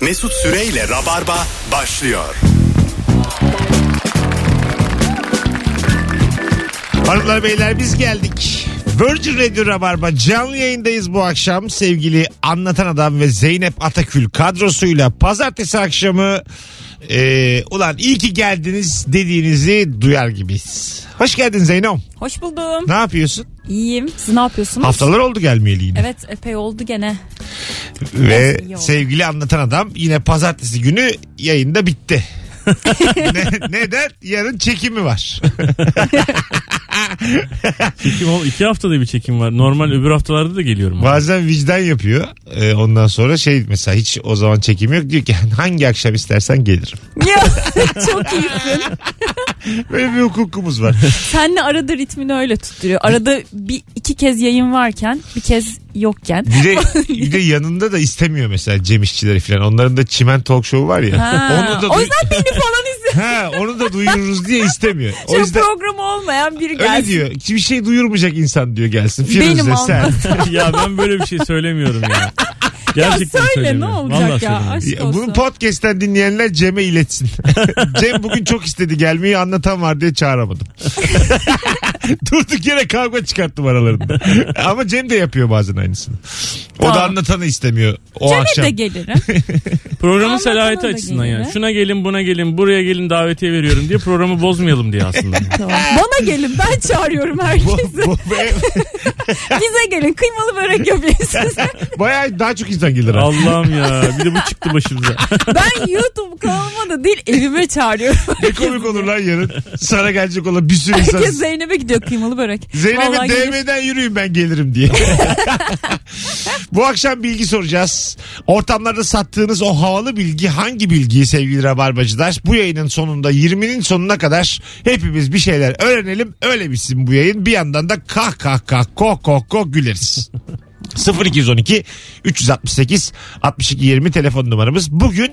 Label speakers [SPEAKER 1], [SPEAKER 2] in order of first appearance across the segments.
[SPEAKER 1] Mesut Süreyle Rabarba başlıyor.
[SPEAKER 2] Hanımlar beyler biz geldik. Virgin Radio Rabarba canlı yayındayız bu akşam. Sevgili Anlatan Adam ve Zeynep Atakül kadrosuyla pazartesi akşamı e, ulan iyi ki geldiniz dediğinizi duyar gibiyiz. Hoş geldin Zeynom.
[SPEAKER 3] Hoş buldum.
[SPEAKER 2] Ne yapıyorsun?
[SPEAKER 3] İyiyim. Siz ne yapıyorsunuz?
[SPEAKER 2] Haftalar oldu gelmeyeli yine.
[SPEAKER 3] Evet epey oldu gene.
[SPEAKER 2] Ve
[SPEAKER 3] iyi oldu.
[SPEAKER 2] sevgili Anlatan Adam yine pazartesi günü yayında bitti. ne, neden? Yarın çekimi var.
[SPEAKER 4] Çekim ol. iki haftada bir çekim var. Normal öbür haftalarda da geliyorum.
[SPEAKER 2] Bazen vicdan yapıyor. Ee, ondan sonra şey mesela hiç o zaman çekim yok. Diyor ki hangi akşam istersen gelirim.
[SPEAKER 3] Ya, Çok iyisin.
[SPEAKER 2] Böyle bir hukukumuz var.
[SPEAKER 3] Senle arada ritmini öyle tutturuyor. Arada bir iki kez yayın varken bir kez yokken.
[SPEAKER 2] Bir de, bir de yanında da istemiyor mesela Cem İşçileri falan. Onların da çimen talk show'u var ya.
[SPEAKER 3] Ha,
[SPEAKER 2] Onu da
[SPEAKER 3] o
[SPEAKER 2] duy-
[SPEAKER 3] yüzden beni falan izle.
[SPEAKER 2] Ha, onu da duyururuz diye istemiyor. O
[SPEAKER 3] Çok
[SPEAKER 2] yüzden
[SPEAKER 3] programı olmayan biri gelsin.
[SPEAKER 2] öyle diyor. Bir şey duyurmayacak insan diyor gelsin. Firuze
[SPEAKER 3] Benim
[SPEAKER 2] sen.
[SPEAKER 4] ya ben böyle bir şey söylemiyorum ya. Gerçekten
[SPEAKER 3] söyle,
[SPEAKER 4] söylemiyorum.
[SPEAKER 3] ne olacak
[SPEAKER 4] Vallahi
[SPEAKER 3] ya?
[SPEAKER 4] söylemiyorum.
[SPEAKER 3] Aşk
[SPEAKER 2] Ya, Bunu
[SPEAKER 3] olsun.
[SPEAKER 2] podcast'ten dinleyenler Cem'e iletsin. Cem bugün çok istedi gelmeyi anlatan var diye çağıramadım. Durduk yere kavga çıkarttım aralarında. Ama Cem de yapıyor bazen aynısını. O da
[SPEAKER 3] Tamam.
[SPEAKER 2] anlatanı istemiyor o
[SPEAKER 3] Cem'e
[SPEAKER 2] akşam.
[SPEAKER 3] de gelirim.
[SPEAKER 4] Programın
[SPEAKER 3] Anlatanın
[SPEAKER 4] selahiyeti
[SPEAKER 3] da
[SPEAKER 4] açısından
[SPEAKER 3] gelin
[SPEAKER 4] yani.
[SPEAKER 3] be.
[SPEAKER 4] Şuna gelin buna gelin buraya gelin davetiye veriyorum diye programı bozmayalım diye aslında.
[SPEAKER 3] Tamam. Bana gelin ben çağırıyorum
[SPEAKER 2] bu,
[SPEAKER 3] herkesi.
[SPEAKER 2] bu- be-
[SPEAKER 3] Bize gelin kıymalı börek yapayım size.
[SPEAKER 2] bayağı daha çok insan gelir. ha.
[SPEAKER 4] Allah'ım ya bir de bu çıktı başımıza.
[SPEAKER 3] Ben YouTube kanalıma da değil evime çağırıyorum.
[SPEAKER 2] Ne komik olur lan yarın. Sana gelecek olan bir sürü insan.
[SPEAKER 3] Herkes Zeynep'e gidiyor kıymalı börek. Vallahi
[SPEAKER 2] Zeynep'e
[SPEAKER 3] gelir.
[SPEAKER 2] DM'den yürüyün ben gelirim diye. Bu akşam bilgi soracağız. Ortamlarda sattığınız o havalı bilgi hangi bilgi sevgili Rabarbacılar? Bu yayının sonunda 20'nin sonuna kadar hepimiz bir şeyler öğrenelim. Öyle bitsin bu yayın. Bir yandan da kah kah kah koh koh koh güleriz. 0212 368 62 20 telefon numaramız. Bugün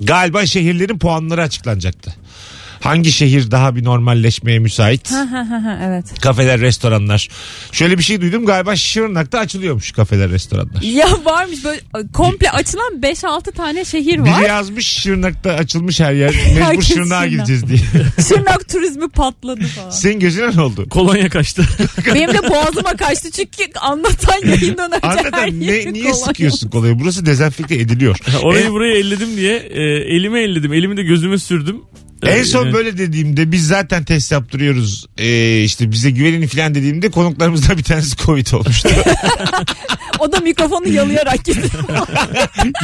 [SPEAKER 2] galiba şehirlerin puanları açıklanacaktı. Hangi şehir daha bir normalleşmeye müsait?
[SPEAKER 3] Ha, ha, ha, ha, evet.
[SPEAKER 2] kafeler, restoranlar. Şöyle bir şey duydum galiba Şırnak'ta açılıyormuş kafeler, restoranlar.
[SPEAKER 3] Ya varmış böyle komple açılan 5-6 tane şehir var.
[SPEAKER 2] Biri yazmış Şırnak'ta açılmış her yer. Mecbur
[SPEAKER 3] Herkes
[SPEAKER 2] Şırnak'a
[SPEAKER 3] Şırnak.
[SPEAKER 2] gideceğiz diye.
[SPEAKER 3] Şırnak turizmi patladı falan.
[SPEAKER 2] Senin gözüne ne oldu?
[SPEAKER 4] Kolonya kaçtı.
[SPEAKER 3] Benim de boğazıma kaçtı çünkü anlatan yayından önce her
[SPEAKER 2] Anlatan
[SPEAKER 3] yeri
[SPEAKER 2] ne, niye
[SPEAKER 3] kolay.
[SPEAKER 2] sıkıyorsun kolayı? Burası dezenfekte ediliyor.
[SPEAKER 4] Orayı burayı elledim diye e, elime elledim. Elimi de gözüme sürdüm.
[SPEAKER 2] En
[SPEAKER 4] E,
[SPEAKER 2] son
[SPEAKER 4] e,
[SPEAKER 2] böyle dediğimde biz zaten test yaptırıyoruz. Ee, işte bize güvenin falan dediğimde konuklarımızdan bir tanesi Covid olmuştu.
[SPEAKER 3] O da mikrofonu yalayarak gitti.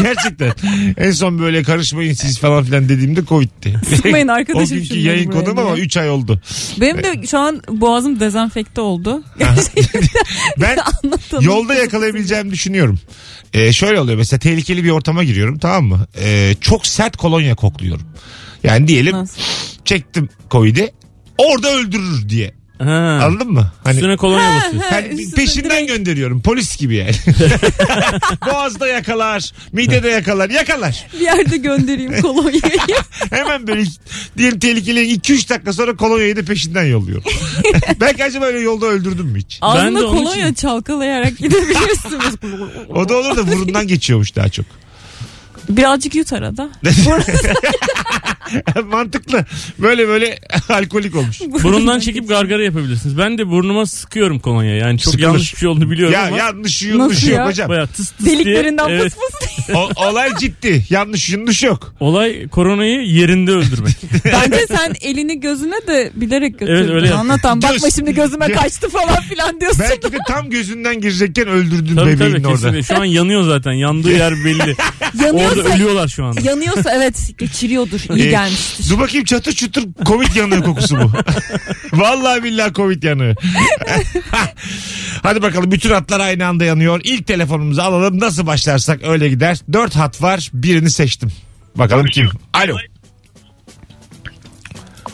[SPEAKER 2] Gerçekten. En son böyle karışmayın siz falan filan dediğimde Covid'ti.
[SPEAKER 3] Sıkmayın
[SPEAKER 2] O
[SPEAKER 3] arkadaşım
[SPEAKER 2] günkü
[SPEAKER 3] şunları
[SPEAKER 2] yayın
[SPEAKER 3] buraya
[SPEAKER 2] konum
[SPEAKER 3] diye.
[SPEAKER 2] ama 3 ay oldu.
[SPEAKER 3] Benim de şu an boğazım dezenfekte oldu.
[SPEAKER 2] Ben
[SPEAKER 3] Anlatalım.
[SPEAKER 2] Yolda yakalayabileceğimi düşünüyorum. Ee, şöyle oluyor mesela tehlikeli bir ortama giriyorum tamam mı? Ee, çok sert kolonya kokluyorum. Yani diyelim
[SPEAKER 3] Nasıl?
[SPEAKER 2] çektim Covid'i orada öldürür diye.
[SPEAKER 4] ha,
[SPEAKER 2] Anladın mı? Hani
[SPEAKER 4] Üstüne kolonya basıyorsun.
[SPEAKER 3] Ha,
[SPEAKER 2] ben
[SPEAKER 3] üstüne
[SPEAKER 2] peşinden
[SPEAKER 3] direkt-
[SPEAKER 2] gönderiyorum polis gibi yani. Boğazda yakalar, midede yakalar, yakalar.
[SPEAKER 3] Bir yerde göndereyim kolonyayı.
[SPEAKER 2] Hemen böyle diyelim tehlikeli 2-3 dakika sonra kolonyayı da peşinden yolluyorum. Belki acaba öyle yolda öldürdüm mü hiç?
[SPEAKER 3] Ağzına
[SPEAKER 4] onun için-
[SPEAKER 3] kolonya çalkalayarak gidebilirsiniz.
[SPEAKER 2] O da olur da burundan geçiyormuş daha çok.
[SPEAKER 3] Birazcık yut arada.
[SPEAKER 2] Mantıklı. Böyle böyle alkolik olmuş.
[SPEAKER 4] Burundan çekip gargara yapabilirsiniz. Ben de burnuma sıkıyorum kolonya. Yani çok
[SPEAKER 2] Sıkılır.
[SPEAKER 4] yanlış bir şey olduğunu biliyorum
[SPEAKER 2] Ya
[SPEAKER 4] ama.
[SPEAKER 2] yanlış yanlış
[SPEAKER 3] Nasıl
[SPEAKER 2] yok
[SPEAKER 3] ya?
[SPEAKER 2] hocam.
[SPEAKER 4] Bayağı tıs tıs
[SPEAKER 3] Deliklerinden
[SPEAKER 4] diye.
[SPEAKER 3] fıs
[SPEAKER 4] Evet.
[SPEAKER 3] fıs diye.
[SPEAKER 2] O, olay ciddi. Yanlış yanlış yok.
[SPEAKER 4] Olay koronayı yerinde öldürmek.
[SPEAKER 3] Bence sen elini gözüne de bilerek götürdün.
[SPEAKER 4] Evet, öyle yaptım.
[SPEAKER 3] Anlatan
[SPEAKER 2] Göz-
[SPEAKER 3] bakma şimdi gözüme kaçtı falan filan diyorsun.
[SPEAKER 2] Belki de tam gözünden girecekken öldürdün
[SPEAKER 4] tabii
[SPEAKER 2] bebeğin
[SPEAKER 4] tabii
[SPEAKER 2] orada.
[SPEAKER 4] kesinlikle. Şu an yanıyor zaten. Yandığı yer belli.
[SPEAKER 3] yanıyorsa,
[SPEAKER 4] Orada ölüyorlar şu anda.
[SPEAKER 3] yanıyorsa evet geçiriyordur.
[SPEAKER 2] Ee,
[SPEAKER 3] iyi gelmiştir.
[SPEAKER 2] Dur bakayım çatır çutur Covid yanığı kokusu bu. Vallahi billahi Covid yanığı. Hadi bakalım bütün hatlar aynı anda yanıyor. İlk telefonumuzu alalım. Nasıl başlarsak öyle gider. Dört hat var. Birini seçtim. Bakalım kim? Alo.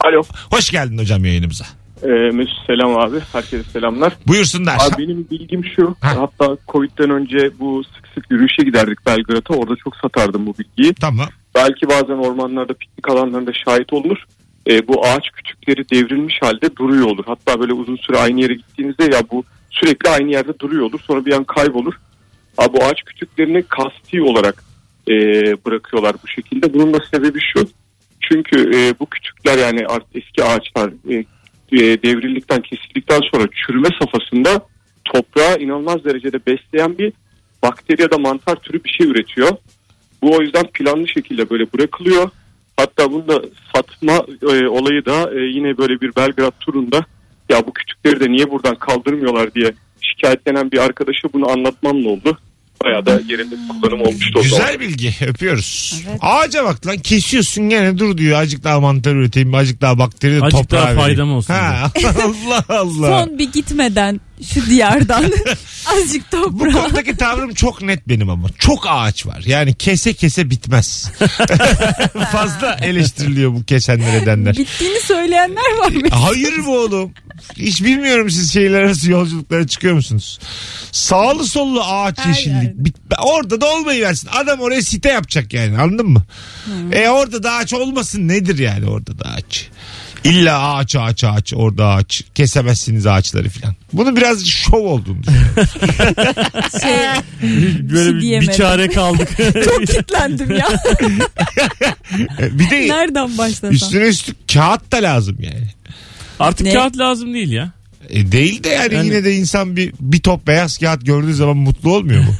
[SPEAKER 5] Alo.
[SPEAKER 2] Hoş geldin hocam yayınımıza.
[SPEAKER 5] Ee, Mesut selam abi. Herkese selamlar.
[SPEAKER 2] Buyursunlar.
[SPEAKER 5] Abi benim bilgim şu.
[SPEAKER 2] Ha.
[SPEAKER 5] Hatta Covid'den önce bu sık sık yürüyüşe giderdik Belgrad'a. Orada çok satardım bu bilgiyi.
[SPEAKER 2] Tamam.
[SPEAKER 5] Belki bazen ormanlarda piknik alanlarında şahit olunur. Ee, bu ağaç küçükleri devrilmiş halde duruyor olur. Hatta böyle uzun süre aynı yere gittiğinizde ya bu sürekli aynı yerde duruyor olur. Sonra bir an kaybolur. Abi bu ağaç küçüklerini kasti olarak e, bırakıyorlar bu şekilde. Bunun da sebebi şu. Çünkü e, bu kütükler yani artık eski ağaçlar e, e, devrildikten kesildikten sonra çürüme safhasında toprağı inanılmaz derecede besleyen bir bakteri ya da mantar türü bir şey üretiyor. Bu o yüzden planlı şekilde böyle bırakılıyor. Hatta bunda satma e, olayı da e, yine böyle bir Belgrad turunda ya bu kütükleri de niye buradan kaldırmıyorlar diye şikayetlenen bir arkadaşa bunu anlatmamla oldu. Bayağı da yerinde kullanım olmuştu o zaman.
[SPEAKER 2] Güzel bilgi. Öpüyoruz.
[SPEAKER 3] Evet.
[SPEAKER 2] Ağaca bak lan kesiyorsun gene dur diyor. Azıcık daha mantar üreteyim. Azıcık daha bakteri de
[SPEAKER 4] Azıcık
[SPEAKER 2] toprağa
[SPEAKER 4] daha
[SPEAKER 2] vereyim.
[SPEAKER 4] faydam olsun
[SPEAKER 2] Ha, Allah Allah.
[SPEAKER 3] Son bir gitmeden şu diyardan azıcık
[SPEAKER 2] Bu
[SPEAKER 3] toprağa.
[SPEAKER 2] konudaki tavrım çok net benim ama. Çok ağaç var. Yani kese kese bitmez. Fazla eleştiriliyor bu kesenler edenler.
[SPEAKER 3] Bittiğini söyleyenler var mı?
[SPEAKER 2] Hayır bu oğlum. Hiç bilmiyorum siz şehirler arası yolculuklara çıkıyor musunuz? Sağlı sollu ağaç
[SPEAKER 3] Her
[SPEAKER 2] yeşillik.
[SPEAKER 3] yerde.
[SPEAKER 2] Bit- orada da olmayı versin. Adam oraya site yapacak yani anladın mı?
[SPEAKER 3] Hmm.
[SPEAKER 2] E orada da ağaç olmasın nedir yani orada da ağaç? İlla ağaç ağaç ağaç orada ağaç. Kesemezsiniz ağaçları filan. Bunu biraz şov olduğunu düşünüyorum.
[SPEAKER 3] Şey,
[SPEAKER 4] Böyle bir, bir
[SPEAKER 3] diyemedim.
[SPEAKER 4] çare kaldık.
[SPEAKER 3] çok kitlendim ya.
[SPEAKER 2] E, bir de
[SPEAKER 3] Nereden başlasam?
[SPEAKER 2] üstüne üstlük kağıt da lazım yani.
[SPEAKER 4] Artık
[SPEAKER 3] Ne?
[SPEAKER 4] kağıt lazım değil ya.
[SPEAKER 2] E, değil de yani,
[SPEAKER 4] Yani-
[SPEAKER 2] yine de insan bir bir top beyaz kağıt gördüğü zaman mutlu olmuyor mu?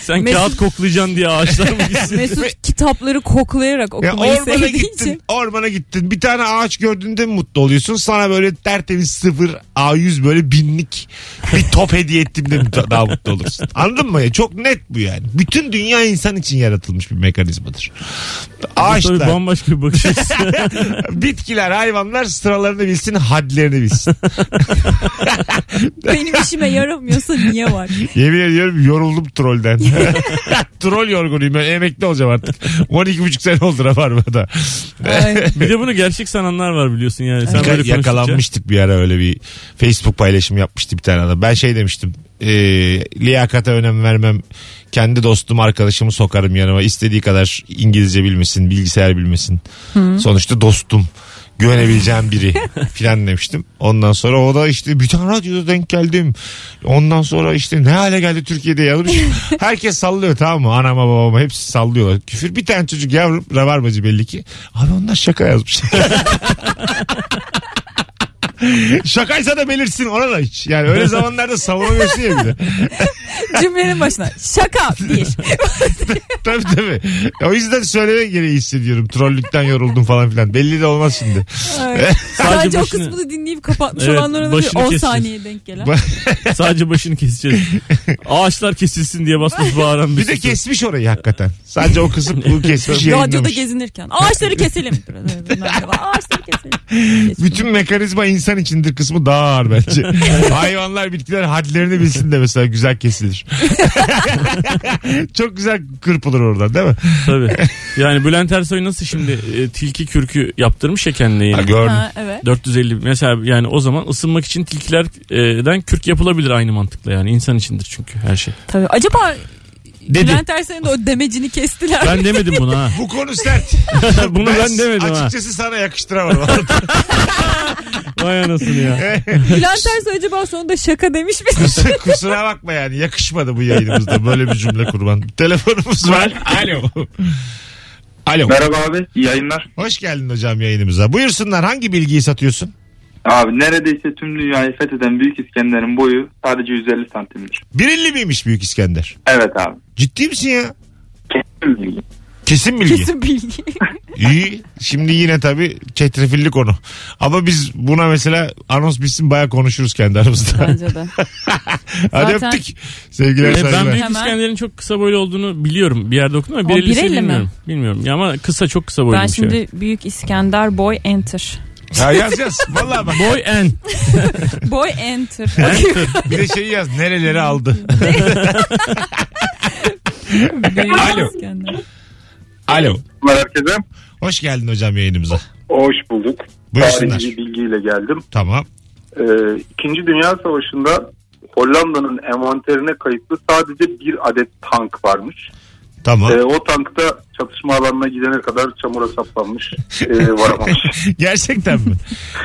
[SPEAKER 4] Sen
[SPEAKER 3] Mesut-
[SPEAKER 4] kağıt koklayacaksın diye ağaçlar mı gitsin?
[SPEAKER 2] Ve-
[SPEAKER 3] Mesut kitapları koklayarak
[SPEAKER 2] Ya
[SPEAKER 3] okumayı
[SPEAKER 2] ormana
[SPEAKER 3] sevdiği
[SPEAKER 2] gittin,
[SPEAKER 3] için.
[SPEAKER 2] ormana gittin. Bir tane ağaç gördüğünde mi mutlu oluyorsun? Sana böyle tertemiz sıfır A100 böyle binlik bir top hediye ettiğimde mi ta- daha mutlu olursun? Anladın mı? Çok net bu yani. Bütün dünya insan için yaratılmış bir mekanizmadır.
[SPEAKER 4] Tabii
[SPEAKER 2] Ağaçlar,
[SPEAKER 4] bambaşka bir bakış açısı.
[SPEAKER 2] bitkiler, hayvanlar sıralarını bilsin, hadlerini bilsin.
[SPEAKER 3] Benim işime yaramıyorsa niye var?
[SPEAKER 2] Yemin ediyorum yoruldum trolden. Troll yorgunuyum ben. Emekli olacağım artık. 12,5 sene oldu Rabarba'da.
[SPEAKER 3] Ay.
[SPEAKER 4] Bir de bunu gerçek sananlar var biliyorsun yani. Sen
[SPEAKER 2] Yaka-
[SPEAKER 4] böyle konuştukça-
[SPEAKER 2] yakalanmıştık bir ara öyle bir Facebook paylaşımı yapmıştı bir tane adam. Ben şey demiştim. E, liyakata önem vermem. Kendi dostum arkadaşımı sokarım yanıma. İstediği kadar İngilizce bilmesin, bilgisayar bilmesin. Sonuçta dostum. Güvenebileceğim biri filan demiştim. Ondan sonra o da işte bir tane radyoda denk geldim. Ondan sonra işte ne hale geldi Türkiye'de yazmış. Herkes sallıyor tamam mı? Anama babama hepsi sallıyorlar. Küfür bir tane çocuk yavrum rabarbacı belli ki. Abi onlar şaka yazmış. Şakaysa da belirsin ona da hiç. Yani öyle zamanlarda savunamıyorsun ya bir de.
[SPEAKER 3] Cümlenin başına şaka bir.
[SPEAKER 2] Tabii tabii. O yüzden söyleme gereği hissediyorum. Trollükten yoruldum falan filan. Belli de olmaz şimdi.
[SPEAKER 3] Ay. Sadece o
[SPEAKER 4] başını-
[SPEAKER 3] kısmını dinleyip kapatmış
[SPEAKER 4] Evet,
[SPEAKER 3] olanlara da bir
[SPEAKER 4] başını
[SPEAKER 3] 10
[SPEAKER 4] keseceğiz.
[SPEAKER 3] saniye denk gelen.
[SPEAKER 2] Ba-
[SPEAKER 4] Sadece başını keseceğiz. Ağaçlar kesilsin diye basmış bağıran
[SPEAKER 2] Bir de
[SPEAKER 4] Mesut'u.
[SPEAKER 2] kesmiş orayı hakikaten. Sadece o kısım bu kesmiş
[SPEAKER 3] Radyoda
[SPEAKER 2] yayınlamış.
[SPEAKER 3] gezinirken ağaçları keselim. ağaçları keselim.
[SPEAKER 2] Bütün mekanizma insan içindir kısmı daha ağır bence. Hayvanlar bitkiler hadlerini bilsin de mesela güzel kesilir. Çok güzel kırpılır oradan değil mi?
[SPEAKER 4] Tabii. Yani Bülent Ersoy nasıl şimdi e, tilki kürkü yaptırmış ya kendine yeni.
[SPEAKER 2] Ha, gördüm.
[SPEAKER 3] Ha, evet.
[SPEAKER 4] 450 mesela yani o zaman ısınmak için tilkilerden kürk yapılabilir aynı mantıkla yani insan içindir çünkü her şey.
[SPEAKER 3] Tabii. Acaba
[SPEAKER 2] Dedi.
[SPEAKER 3] Bülent Ersoy'un da o demecini kestiler.
[SPEAKER 4] Ben demedim bunu ha.
[SPEAKER 2] Bu konu sert.
[SPEAKER 4] Bunu ben demedim ha.
[SPEAKER 2] Açıkçası sana yakıştıramadım.
[SPEAKER 4] Vay anasını ya.
[SPEAKER 3] Bülent Ersoy acaba sonunda şaka demiş mi?
[SPEAKER 2] Kusura, kusura bakma yani yakışmadı bu yayınımızda böyle bir cümle kurban. Telefonumuz var. Alo. Alo.
[SPEAKER 6] Merhaba abi iyi yayınlar.
[SPEAKER 2] Hoş geldin hocam yayınımıza. Buyursunlar hangi bilgiyi satıyorsun?
[SPEAKER 6] Abi neredeyse tüm dünyayı fetheden Büyük İskender'in boyu sadece 150 santimdir.
[SPEAKER 2] Birilli miymiş Büyük İskender?
[SPEAKER 6] Evet abi.
[SPEAKER 2] Ciddi misin ya?
[SPEAKER 6] Kesin bilgi.
[SPEAKER 2] Kesin bilgi.
[SPEAKER 3] Kesin bilgi.
[SPEAKER 2] İyi. Şimdi yine tabii çetrefilli konu. Ama biz buna mesela anons bitsin baya konuşuruz kendi aramızda.
[SPEAKER 3] Bence de.
[SPEAKER 2] Hadi
[SPEAKER 3] Zaten-
[SPEAKER 2] öptük. Sevgiler
[SPEAKER 4] E, ben
[SPEAKER 2] saygılar.
[SPEAKER 4] Büyük
[SPEAKER 3] Hemen.
[SPEAKER 4] İskender'in çok kısa boylu olduğunu biliyorum. Bir yerde okudum ama
[SPEAKER 3] O,
[SPEAKER 4] 1.50'si
[SPEAKER 3] bir elli mi?
[SPEAKER 4] bilmiyorum. Bilmiyorum ya ama kısa çok kısa şey.
[SPEAKER 3] ben
[SPEAKER 4] boyluymuş.
[SPEAKER 3] şimdi
[SPEAKER 4] evet.
[SPEAKER 3] Büyük İskender Boy Enter.
[SPEAKER 2] Ya yaz yaz. Valla bak.
[SPEAKER 4] Boy en.
[SPEAKER 3] Boy Enter.
[SPEAKER 2] Bir de şeyi yaz. Nereleri aldı.
[SPEAKER 3] Büyük
[SPEAKER 2] Alo.
[SPEAKER 3] İskender.
[SPEAKER 2] Alo.
[SPEAKER 6] Merhaba herkese.
[SPEAKER 2] Hoş geldin hocam yayınımıza.
[SPEAKER 6] Hoş bulduk.
[SPEAKER 2] Buyursunlar.
[SPEAKER 6] Tarihi bilgiyle geldim.
[SPEAKER 2] Tamam.
[SPEAKER 6] Ee, İkinci Dünya Savaşı'nda Hollanda'nın envanterine kayıtlı sadece bir adet tank varmış.
[SPEAKER 2] Tamam.
[SPEAKER 6] Ee, o tankta
[SPEAKER 5] çatışma alanına gidene kadar çamura saplanmış e, varamamış.
[SPEAKER 2] Gerçekten mi?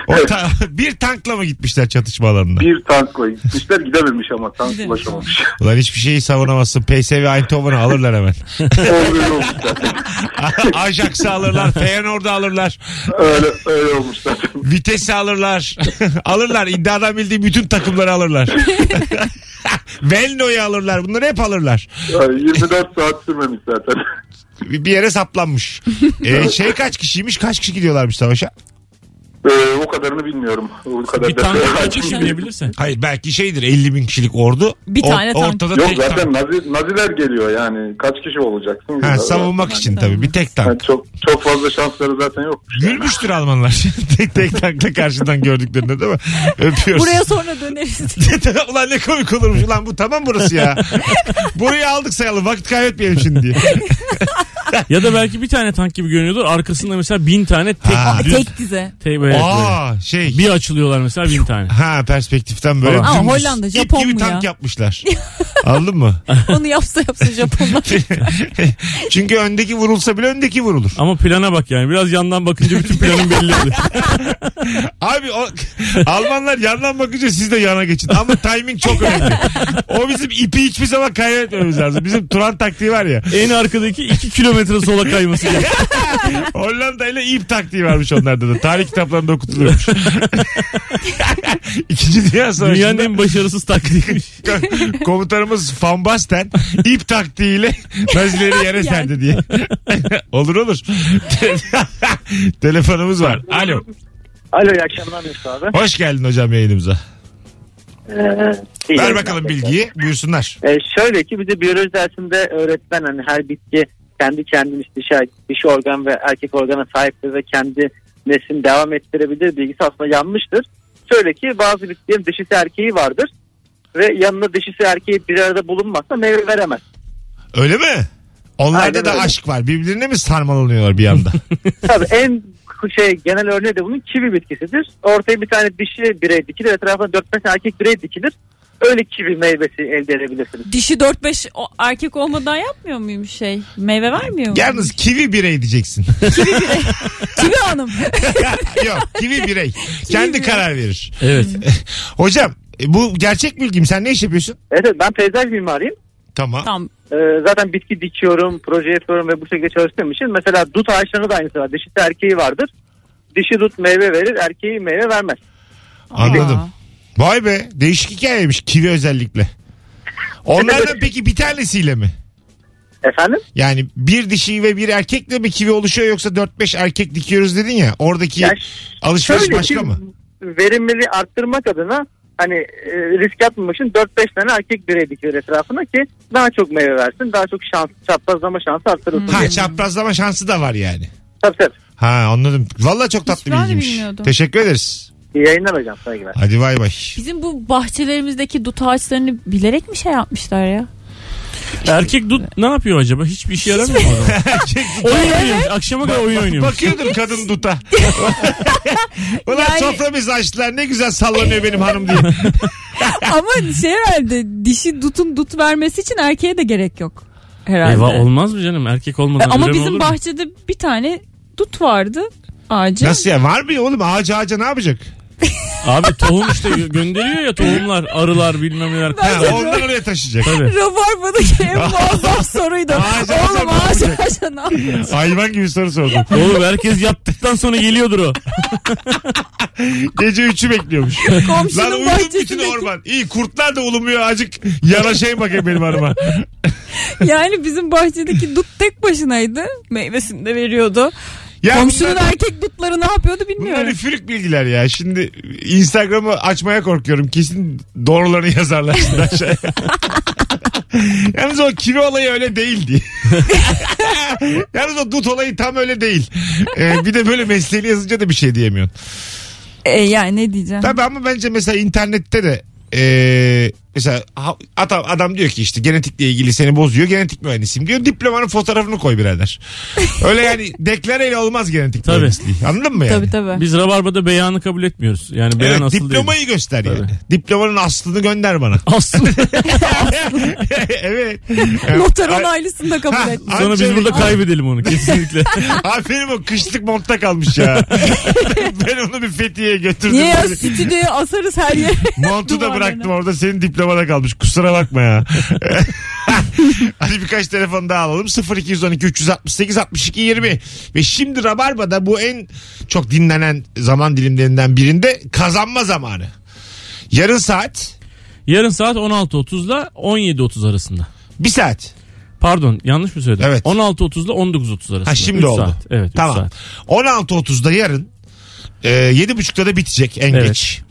[SPEAKER 2] O ta- bir tankla mı gitmişler çatışma alanına?
[SPEAKER 5] Bir tankla gitmişler gidememiş ama tank ulaşamamış.
[SPEAKER 2] Ulan hiçbir şeyi savunamazsın. PSV Eindhoven'ı alırlar hemen.
[SPEAKER 5] öyle olmuş zaten.
[SPEAKER 2] Ajax'ı alırlar. Feyenoord'u alırlar.
[SPEAKER 5] Öyle, öyle olmuş zaten.
[SPEAKER 2] Vites'i alırlar. alırlar. İddiadan bildiğim bütün takımları alırlar. Velno'yu alırlar. Bunları hep alırlar.
[SPEAKER 5] Yani 24 saat sürmemiş zaten.
[SPEAKER 2] Bir bir yere saplanmış. Ee, şey kaç kişiymiş? Kaç kişi gidiyorlarmış savaşa?
[SPEAKER 5] Ee, o kadarını bilmiyorum. O kadar
[SPEAKER 4] Bir
[SPEAKER 5] da-
[SPEAKER 4] tane
[SPEAKER 5] Hakim
[SPEAKER 4] kaç kişi
[SPEAKER 5] değilim.
[SPEAKER 4] binebilirse.
[SPEAKER 2] Hayır belki şeydir 50 bin kişilik ordu.
[SPEAKER 3] Bir tane tank.
[SPEAKER 2] Ortada
[SPEAKER 5] Yok
[SPEAKER 2] tek tank.
[SPEAKER 5] zaten nazi, naziler geliyor yani. Kaç kişi
[SPEAKER 2] Ha,
[SPEAKER 5] olacaksın? Zaten-
[SPEAKER 2] savunmak için tabii bir tek tank.
[SPEAKER 5] Yani çok çok fazla şansları zaten yok.
[SPEAKER 2] Gülmüştür Almanlar. tek tek tankla karşıdan gördüklerinde değil mi? Öpüyoruz.
[SPEAKER 3] Buraya sonra döneriz.
[SPEAKER 2] ulan ne komik olurmuş ulan bu tamam burası ya. Burayı aldık sayalım vakit kaybetmeyelim şimdi diye.
[SPEAKER 4] Ya da belki bir tane tank gibi görünüyordur. Arkasında mesela bin tane tek
[SPEAKER 2] Ha.
[SPEAKER 4] düz
[SPEAKER 3] Tek dize.
[SPEAKER 4] tek böyle.
[SPEAKER 2] Aa şey.
[SPEAKER 4] Bir açılıyorlar mesela bin tane.
[SPEAKER 2] Ha perspektiften böyle.
[SPEAKER 4] Aa,
[SPEAKER 2] dümdüz
[SPEAKER 3] Hollanda,
[SPEAKER 2] ip
[SPEAKER 3] Japon
[SPEAKER 2] gibi
[SPEAKER 3] mu
[SPEAKER 2] tank
[SPEAKER 3] ya?
[SPEAKER 2] yapmışlar. Anladın mı?
[SPEAKER 3] Onu yapsa yapsa Japonlar.
[SPEAKER 2] Çünkü öndeki vurulsa bile öndeki vurulur.
[SPEAKER 4] Ama plana bak yani. Biraz yandan bakınca bütün planın belli oluyor.
[SPEAKER 2] Abi o, Almanlar yandan bakınca siz de yana geçin. Ama timing çok önemli. O bizim ipi hiçbir zaman kaybetmemiz lazım. Bizim Turan taktiği var ya.
[SPEAKER 4] en arkadaki 2 kilometre sola kayması. gerekiyor.
[SPEAKER 2] Hollanda ile ip taktiği varmış onlarda da. Tarih kitaplarında okutuluyormuş. İkinci Dünya
[SPEAKER 4] Dünyanın
[SPEAKER 2] Savaşı'nda
[SPEAKER 4] en başarısız taktiğiymiş.
[SPEAKER 2] komutanımız Van Basten ip taktiğiyle Nazileri yere serdi diye. olur olur. Telefonumuz var. Alo.
[SPEAKER 7] Alo iyi akşamlar Mesut abi.
[SPEAKER 2] Hoş geldin hocam yayınımıza.
[SPEAKER 7] İyi
[SPEAKER 2] Ver
[SPEAKER 7] yayınlar.
[SPEAKER 2] bakalım bilgiyi. Buyursunlar.
[SPEAKER 7] Ee, şöyle ki bize biyoloji dersinde öğretmen hani her bitki kendi kendini işte dişi, dişi organ ve erkek organa sahiptir ve kendi neslini devam ettirebilir bilgisi aslında yanlıştır. Şöyle ki bazı bitkilerin dişisi erkeği vardır ve yanında dişisi erkeği bir arada bulunmazsa meyve veremez.
[SPEAKER 2] Öyle mi? Onlarda
[SPEAKER 7] Aynen
[SPEAKER 2] da
[SPEAKER 7] öyle.
[SPEAKER 2] aşk var. Birbirine mi sarmalanıyorlar bir anda?
[SPEAKER 7] Tabii en şey genel örneği de bunun kivi bitkisidir. Ortaya bir tane dişi birey dikilir etrafına 4-5 erkek birey dikilir. Öyle kivi meyvesi elde edebilirsiniz.
[SPEAKER 3] Dişi 4-5 o- erkek olmadan yapmıyor muyum şey? Meyve vermiyor mu?
[SPEAKER 2] Yalnız kivi birey diyeceksin.
[SPEAKER 3] Kivi hanım.
[SPEAKER 2] Yok kivi birey. Kendi
[SPEAKER 3] birey.
[SPEAKER 2] karar verir.
[SPEAKER 4] Evet.
[SPEAKER 2] Hocam e, bu gerçek bilgim. Sen ne iş yapıyorsun?
[SPEAKER 7] Evet evet, ben peyzaj mimariyim.
[SPEAKER 2] Tamam.
[SPEAKER 3] Tamam.
[SPEAKER 7] Ee, zaten bitki dikiyorum, proje yapıyorum ve bu şekilde çalıştığım için mesela dut ağaçlarında da aynısı var. Dişisi erkeği vardır. Dişi dut meyve verir, erkeği meyve vermez.
[SPEAKER 2] Anladım.
[SPEAKER 3] Aa.
[SPEAKER 2] Vay be değişik hikayeymiş kivi özellikle. Onlardan peki bir tanesiyle mi?
[SPEAKER 7] Efendim?
[SPEAKER 2] Yani bir dişi ve bir erkekle mi kivi oluşuyor yoksa 4-5 erkek dikiyoruz dedin ya. Oradaki
[SPEAKER 7] Yani
[SPEAKER 2] alışveriş
[SPEAKER 7] şöyle
[SPEAKER 2] başka
[SPEAKER 7] ki,
[SPEAKER 2] mı?
[SPEAKER 7] Verimliliği arttırmak adına hani e, risk atmamak için 4-5 tane erkek birey dikiyor etrafına ki daha çok meyve versin, daha çok şans, çaprazlama şansı arttırılsın.
[SPEAKER 2] Ha
[SPEAKER 7] diye.
[SPEAKER 2] çaprazlama şansı da var yani.
[SPEAKER 7] Tabii tabii.
[SPEAKER 2] Ha anladım. Valla çok tatlı
[SPEAKER 3] ben de
[SPEAKER 2] bilgiymiş.
[SPEAKER 3] bilmiyordum.
[SPEAKER 2] Teşekkür ederiz.
[SPEAKER 7] İyi yayınlar hocam. Saygılar.
[SPEAKER 2] Hadi bay bay.
[SPEAKER 3] Bizim bu bahçelerimizdeki dut ağaçlarını bilerek mi şey yapmışlar ya?
[SPEAKER 4] Erkek dut ne yapıyor acaba? Hiçbir işe yaramıyor mu adam?
[SPEAKER 2] Erkek
[SPEAKER 4] Oyun oynuyormuş. Akşama kadar oyun oynuyormuş.
[SPEAKER 2] Bakıyordur kadın duta. Ulan
[SPEAKER 3] Yani-
[SPEAKER 2] sofra bizi açtılar ne güzel sallanıyor benim hanım diye.
[SPEAKER 3] Ama şey herhalde dişi dutun dut vermesi için erkeğe de gerek yok. Herhalde. E,
[SPEAKER 4] Eyvah olmaz mı canım? Erkek olmadan
[SPEAKER 3] Ama
[SPEAKER 4] üreme olur
[SPEAKER 3] bizim
[SPEAKER 4] mu?
[SPEAKER 3] bahçede bir tane dut vardı ağacı.
[SPEAKER 2] Nasıl ya var mı ya oğlum ağaca ağaca ne yapacak?
[SPEAKER 4] Abi tohum işte gö- gönderiyor ya tohumlar. Arılar bilmem neler.
[SPEAKER 2] Ha,
[SPEAKER 4] kuşlar.
[SPEAKER 2] ondan oraya taşıyacak.
[SPEAKER 4] Tabii.
[SPEAKER 3] Rabarba'daki en muazzam soruydu.
[SPEAKER 2] Ağaca
[SPEAKER 3] Oğlum ağaç
[SPEAKER 2] ağaca
[SPEAKER 3] ağaca ne yapıyorsun?
[SPEAKER 2] Hayvan gibi soru sordum.
[SPEAKER 4] Oğlum herkes yaptıktan sonra geliyordur o.
[SPEAKER 2] Gece üçü bekliyormuş. Lan
[SPEAKER 3] Komşunun
[SPEAKER 2] uyudum bütün
[SPEAKER 3] bahçesindeki.
[SPEAKER 2] orman. İyi kurtlar da ulumuyor acık yanaşayım bakayım benim hanıma.
[SPEAKER 3] Yani bizim bahçedeki dut tek başınaydı. Meyvesini de veriyordu.
[SPEAKER 2] Ya
[SPEAKER 3] Komşunun
[SPEAKER 2] bunlar-
[SPEAKER 3] erkek dutları ne yapıyordu
[SPEAKER 2] Bunlar
[SPEAKER 3] bilmiyorum.
[SPEAKER 2] üfürük bilgiler ya. Şimdi Instagram'ı açmaya korkuyorum. Kesin doğrularını yazarlar şimdi aşağıya. Yalnız o kivi olayı öyle değildi. Yalnız o dut olayı tam öyle değil. Ee, bir de böyle mesleğini yazınca da bir şey diyemiyorsun.
[SPEAKER 3] E, yani ne diyeceğim?
[SPEAKER 2] Tabii ama bence mesela internette de e, Mesela ha- adam, adam diyor ki işte genetikle ilgili seni bozuyor. Genetik mühendisiyim diyor. Diplomanın fotoğrafını koy birader. Öyle yani deklareyle olmaz genetik
[SPEAKER 4] Tabii.
[SPEAKER 2] mühendisliği. Anladın mı yani?
[SPEAKER 3] Tabii tabii.
[SPEAKER 4] Biz Rabarba'da beyanı kabul etmiyoruz. Yani beyan
[SPEAKER 2] Evet,
[SPEAKER 4] asıl
[SPEAKER 2] diplomayı
[SPEAKER 4] değil.
[SPEAKER 2] göster yani.
[SPEAKER 4] Tabii.
[SPEAKER 2] Diplomanın aslını gönder bana.
[SPEAKER 4] Asıl.
[SPEAKER 2] evet.
[SPEAKER 3] Noter
[SPEAKER 2] Ay-
[SPEAKER 3] onaylısını da kabul
[SPEAKER 2] Ha,
[SPEAKER 3] et.
[SPEAKER 2] ay-
[SPEAKER 4] Sonra biz burada kaybedelim onu kesinlikle.
[SPEAKER 2] Aferin o kışlık montta kalmış ya. ben onu bir Fethiye'ye götürdüm.
[SPEAKER 3] Niye ya stüdyoya asarız her yere.
[SPEAKER 2] Montu da
[SPEAKER 3] Duvarlarına.
[SPEAKER 2] bıraktım orada senin diplomada kalmış. Kusura bakma ya. Hadi birkaç telefon daha alalım. 0212 368 62 20. Ve şimdi Rabarba'da bu en çok dinlenen zaman dilimlerinden birinde kazanma zamanı. Yarın saat
[SPEAKER 4] Yarın saat 16.30'da 17.30 arasında.
[SPEAKER 2] bir saat.
[SPEAKER 4] Pardon yanlış mı söyledim?
[SPEAKER 2] Evet.
[SPEAKER 4] 16.30'da 19.30 arasında.
[SPEAKER 2] Ha şimdi
[SPEAKER 4] Üç
[SPEAKER 2] oldu.
[SPEAKER 4] Saat. Evet üç
[SPEAKER 2] tamam.
[SPEAKER 4] saat.
[SPEAKER 2] 16.30'da yarın e, 7.30'da da bitecek en
[SPEAKER 4] Evet.
[SPEAKER 2] geç.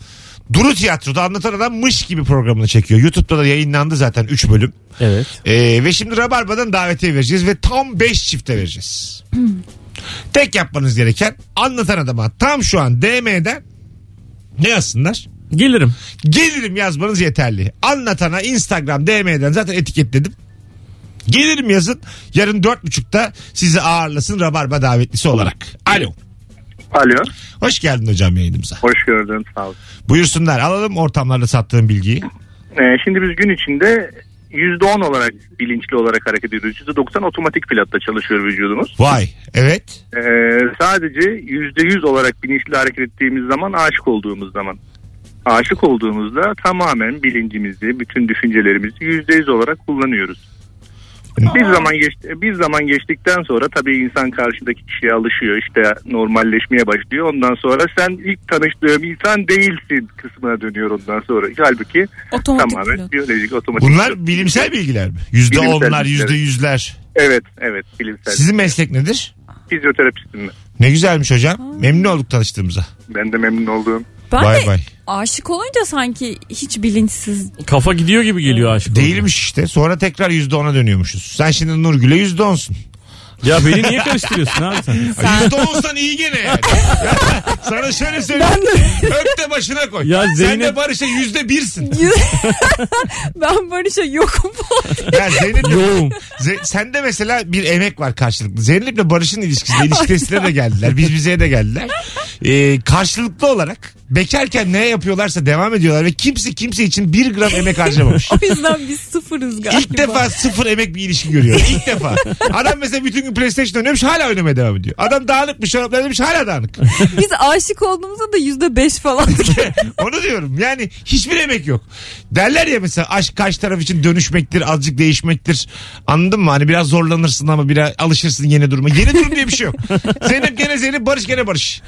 [SPEAKER 2] Duru Tiyatro'da anlatan adam mış gibi programını çekiyor. YouTube'da da yayınlandı zaten 3 bölüm.
[SPEAKER 4] Evet.
[SPEAKER 2] Ee, ve şimdi Rabarba'dan davetiye vereceğiz ve tam 5 çifte vereceğiz. Tek yapmanız gereken anlatan adama tam şu an DM'den ne yazsınlar?
[SPEAKER 4] Gelirim.
[SPEAKER 2] Gelirim yazmanız yeterli. Anlatana Instagram DM'den zaten etiketledim. Gelirim yazın. Yarın 4.30'da sizi ağırlasın Rabarba davetlisi olarak. Alo.
[SPEAKER 8] Alo.
[SPEAKER 2] Hoş geldin hocam yayınımıza.
[SPEAKER 8] Hoş gördün sağ ol.
[SPEAKER 2] Buyursunlar alalım ortamlarda sattığın bilgiyi.
[SPEAKER 8] Ee, şimdi biz gün içinde %10 olarak bilinçli olarak hareket ediyoruz. %90 otomatik pilotta çalışıyor vücudumuz.
[SPEAKER 2] Vay evet.
[SPEAKER 8] Ee, sadece %100 olarak bilinçli hareket ettiğimiz zaman aşık olduğumuz zaman. Aşık olduğumuzda tamamen bilincimizi, bütün düşüncelerimizi %100 olarak kullanıyoruz. Bir zaman geç, bir zaman geçtikten sonra tabii insan karşıdaki kişiye alışıyor. işte normalleşmeye başlıyor. Ondan sonra sen ilk tanıştığım insan değilsin kısmına dönüyor ondan sonra. Halbuki
[SPEAKER 3] Otomatik
[SPEAKER 8] tamamen
[SPEAKER 3] pilot.
[SPEAKER 8] biyolojik otomatik.
[SPEAKER 2] Bunlar bilimsel bilgiler mi? Yüzde
[SPEAKER 8] Bilimsel
[SPEAKER 2] onlar,
[SPEAKER 8] bilgiler.
[SPEAKER 2] yüzde yüzler.
[SPEAKER 8] Evet, evet. Bilimsel.
[SPEAKER 2] Sizin meslek nedir?
[SPEAKER 8] Fizyoterapistim ben.
[SPEAKER 2] Ne güzelmiş hocam. Memnun olduk tanıştığımıza.
[SPEAKER 8] Ben de memnun olduğum.
[SPEAKER 3] Ben
[SPEAKER 2] Bay
[SPEAKER 3] de
[SPEAKER 2] bay.
[SPEAKER 3] aşık olunca sanki hiç bilinçsiz.
[SPEAKER 4] Kafa gidiyor gibi geliyor aşık. olunca.
[SPEAKER 2] Değilmiş işte. Sonra tekrar yüzde ona dönüyormuşuz. Sen şimdi Nurgül'e yüzde onsun.
[SPEAKER 4] Ya beni niye karıştırıyorsun abi sen?
[SPEAKER 3] Sen
[SPEAKER 2] Yüzde onsan iyi gene yani. Sana şöyle söyleyeyim.
[SPEAKER 3] ben de
[SPEAKER 2] Öp de başına koy.
[SPEAKER 4] Ya
[SPEAKER 2] Sen
[SPEAKER 4] Zeynep-
[SPEAKER 2] de Barış'a yüzde birsin.
[SPEAKER 3] ben Barış'a yokum.
[SPEAKER 2] Ya Zeynep,
[SPEAKER 4] Yoğum.
[SPEAKER 2] Ze- sende mesela bir emek var karşılıklı. Zeynep'le Barış'ın ilişkisinde ilişkisine de geldiler. Biz bizeye de geldiler. Ee, karşılıklı olarak bekarken ne yapıyorlarsa devam ediyorlar ve kimse kimse için bir gram emek harcamamış.
[SPEAKER 3] o yüzden biz sıfırız galiba.
[SPEAKER 2] İlk defa sıfır emek bir ilişki görüyor. İlk defa. Adam mesela bütün gün PlayStation oynuyormuş hala oynamaya devam ediyor. Adam dağınıkmış şaraplar demiş hala dağınık.
[SPEAKER 3] Biz aşık olduğumuzda da yüzde beş falan.
[SPEAKER 2] Onu diyorum yani hiçbir emek yok. Derler ya mesela aşk kaç taraf için dönüşmektir azıcık değişmektir. Anladın mı? Hani biraz zorlanırsın ama biraz alışırsın yeni duruma. Yeni durum diye bir şey yok. Zeynep gene Zeynep Barış gene Barış.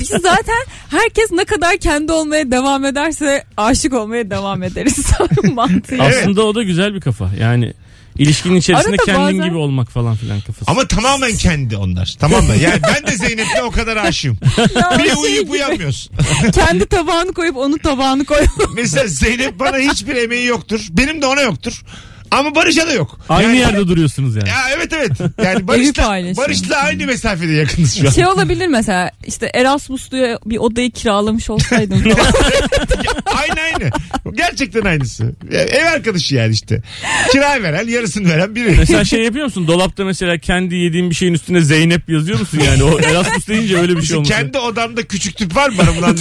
[SPEAKER 3] Biz zaten herkes ne kadar kendi olmaya devam ederse aşık olmaya devam ederiz. Mantığı.
[SPEAKER 4] Aslında o da güzel bir kafa. Yani ilişkinin içerisinde
[SPEAKER 3] Arada
[SPEAKER 4] kendin
[SPEAKER 3] bazen-
[SPEAKER 4] gibi olmak falan filan kafası.
[SPEAKER 2] Ama tamamen kendi onlar. Tamam mı? Yani ben de Zeynep'le o kadar aşığım.
[SPEAKER 3] Ya
[SPEAKER 2] Bir de
[SPEAKER 3] şey
[SPEAKER 2] uyuyup
[SPEAKER 3] gibi,
[SPEAKER 2] uyanmıyorsun.
[SPEAKER 3] Kendi tabağını koyup onun tabağını koy.
[SPEAKER 2] Mesela Zeynep bana hiçbir emeği yoktur. Benim de ona yoktur. Ama Barış'a da yok.
[SPEAKER 4] Aynı
[SPEAKER 2] yani,
[SPEAKER 4] yerde duruyorsunuz yani.
[SPEAKER 2] Ya evet evet. Yani Barış'la,
[SPEAKER 3] paylaşıyor.
[SPEAKER 2] Barış'la aynı mesafede yakınız şu an.
[SPEAKER 3] şey olabilir mesela işte Erasmus'luya bir odayı kiralamış olsaydım falan.
[SPEAKER 2] aynı aynı. Gerçekten aynısı. Ya, Ev arkadaşı yani işte. Kirayı veren yarısını veren biri.
[SPEAKER 4] Mesela şey yapıyor musun? Dolapta mesela kendi yediğin bir şeyin üstüne Zeynep yazıyor musun? Yani o Erasmus deyince öyle bir şey olmuş.
[SPEAKER 2] Kendi odamda küçük tüp var mı bana ulan?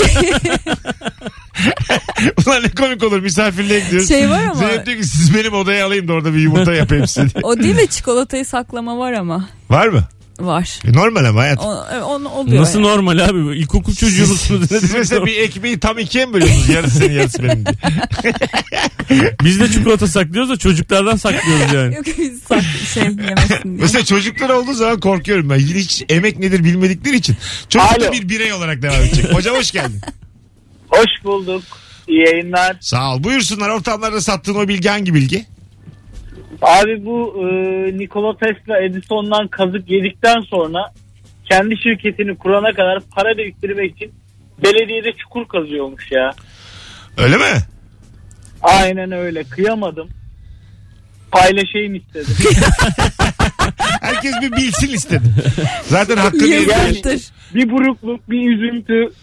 [SPEAKER 2] ulan ne komik olur misafirliğe gidiyoruz.
[SPEAKER 3] Şey var ama-
[SPEAKER 2] Zeynep diyor ki siz benim odaya alayım da orada bir yumurta yapayım size. diye.
[SPEAKER 3] o değil de çikolatayı saklama var ama.
[SPEAKER 2] var mı?
[SPEAKER 3] Var.
[SPEAKER 2] E, Normal ama hayat.
[SPEAKER 3] O, onu oluyor.
[SPEAKER 4] Nasıl
[SPEAKER 3] yani.
[SPEAKER 4] normal abi? bu? İlkokul çocuğu musunuz?
[SPEAKER 2] Siz mesela bir ekmeği tam ikiye mi bölüyorsunuz? Yarısı senin yarısı benim diye.
[SPEAKER 4] Biz de çikolata saklıyoruz da çocuklardan saklıyoruz yani.
[SPEAKER 3] Yok sak şey yemesin diye.
[SPEAKER 2] Mesela çocuklar olduğu zaman korkuyorum ben. Hiç emek nedir bilmedikleri için. Çocuk da
[SPEAKER 9] Alo.
[SPEAKER 2] bir birey olarak devam edecek. Hocam hoş geldin.
[SPEAKER 9] Hoş bulduk. İyi yayınlar.
[SPEAKER 2] Sağ ol. Buyursunlar ortamlarda sattığın o bilgi hangi bilgi?
[SPEAKER 9] Abi bu e, Nikola Tesla Edison'dan kazık yedikten sonra kendi şirketini kurana kadar para biriktirmek için belediyede çukur kazıyormuş ya.
[SPEAKER 2] Öyle mi?
[SPEAKER 9] Aynen öyle. Kıyamadım. Paylaşayım istedim.
[SPEAKER 2] Herkes bir bilsin istedim. Zaten hakkını
[SPEAKER 3] Yazıktır.
[SPEAKER 2] yedim.
[SPEAKER 9] bir burukluk, bir üzüntü.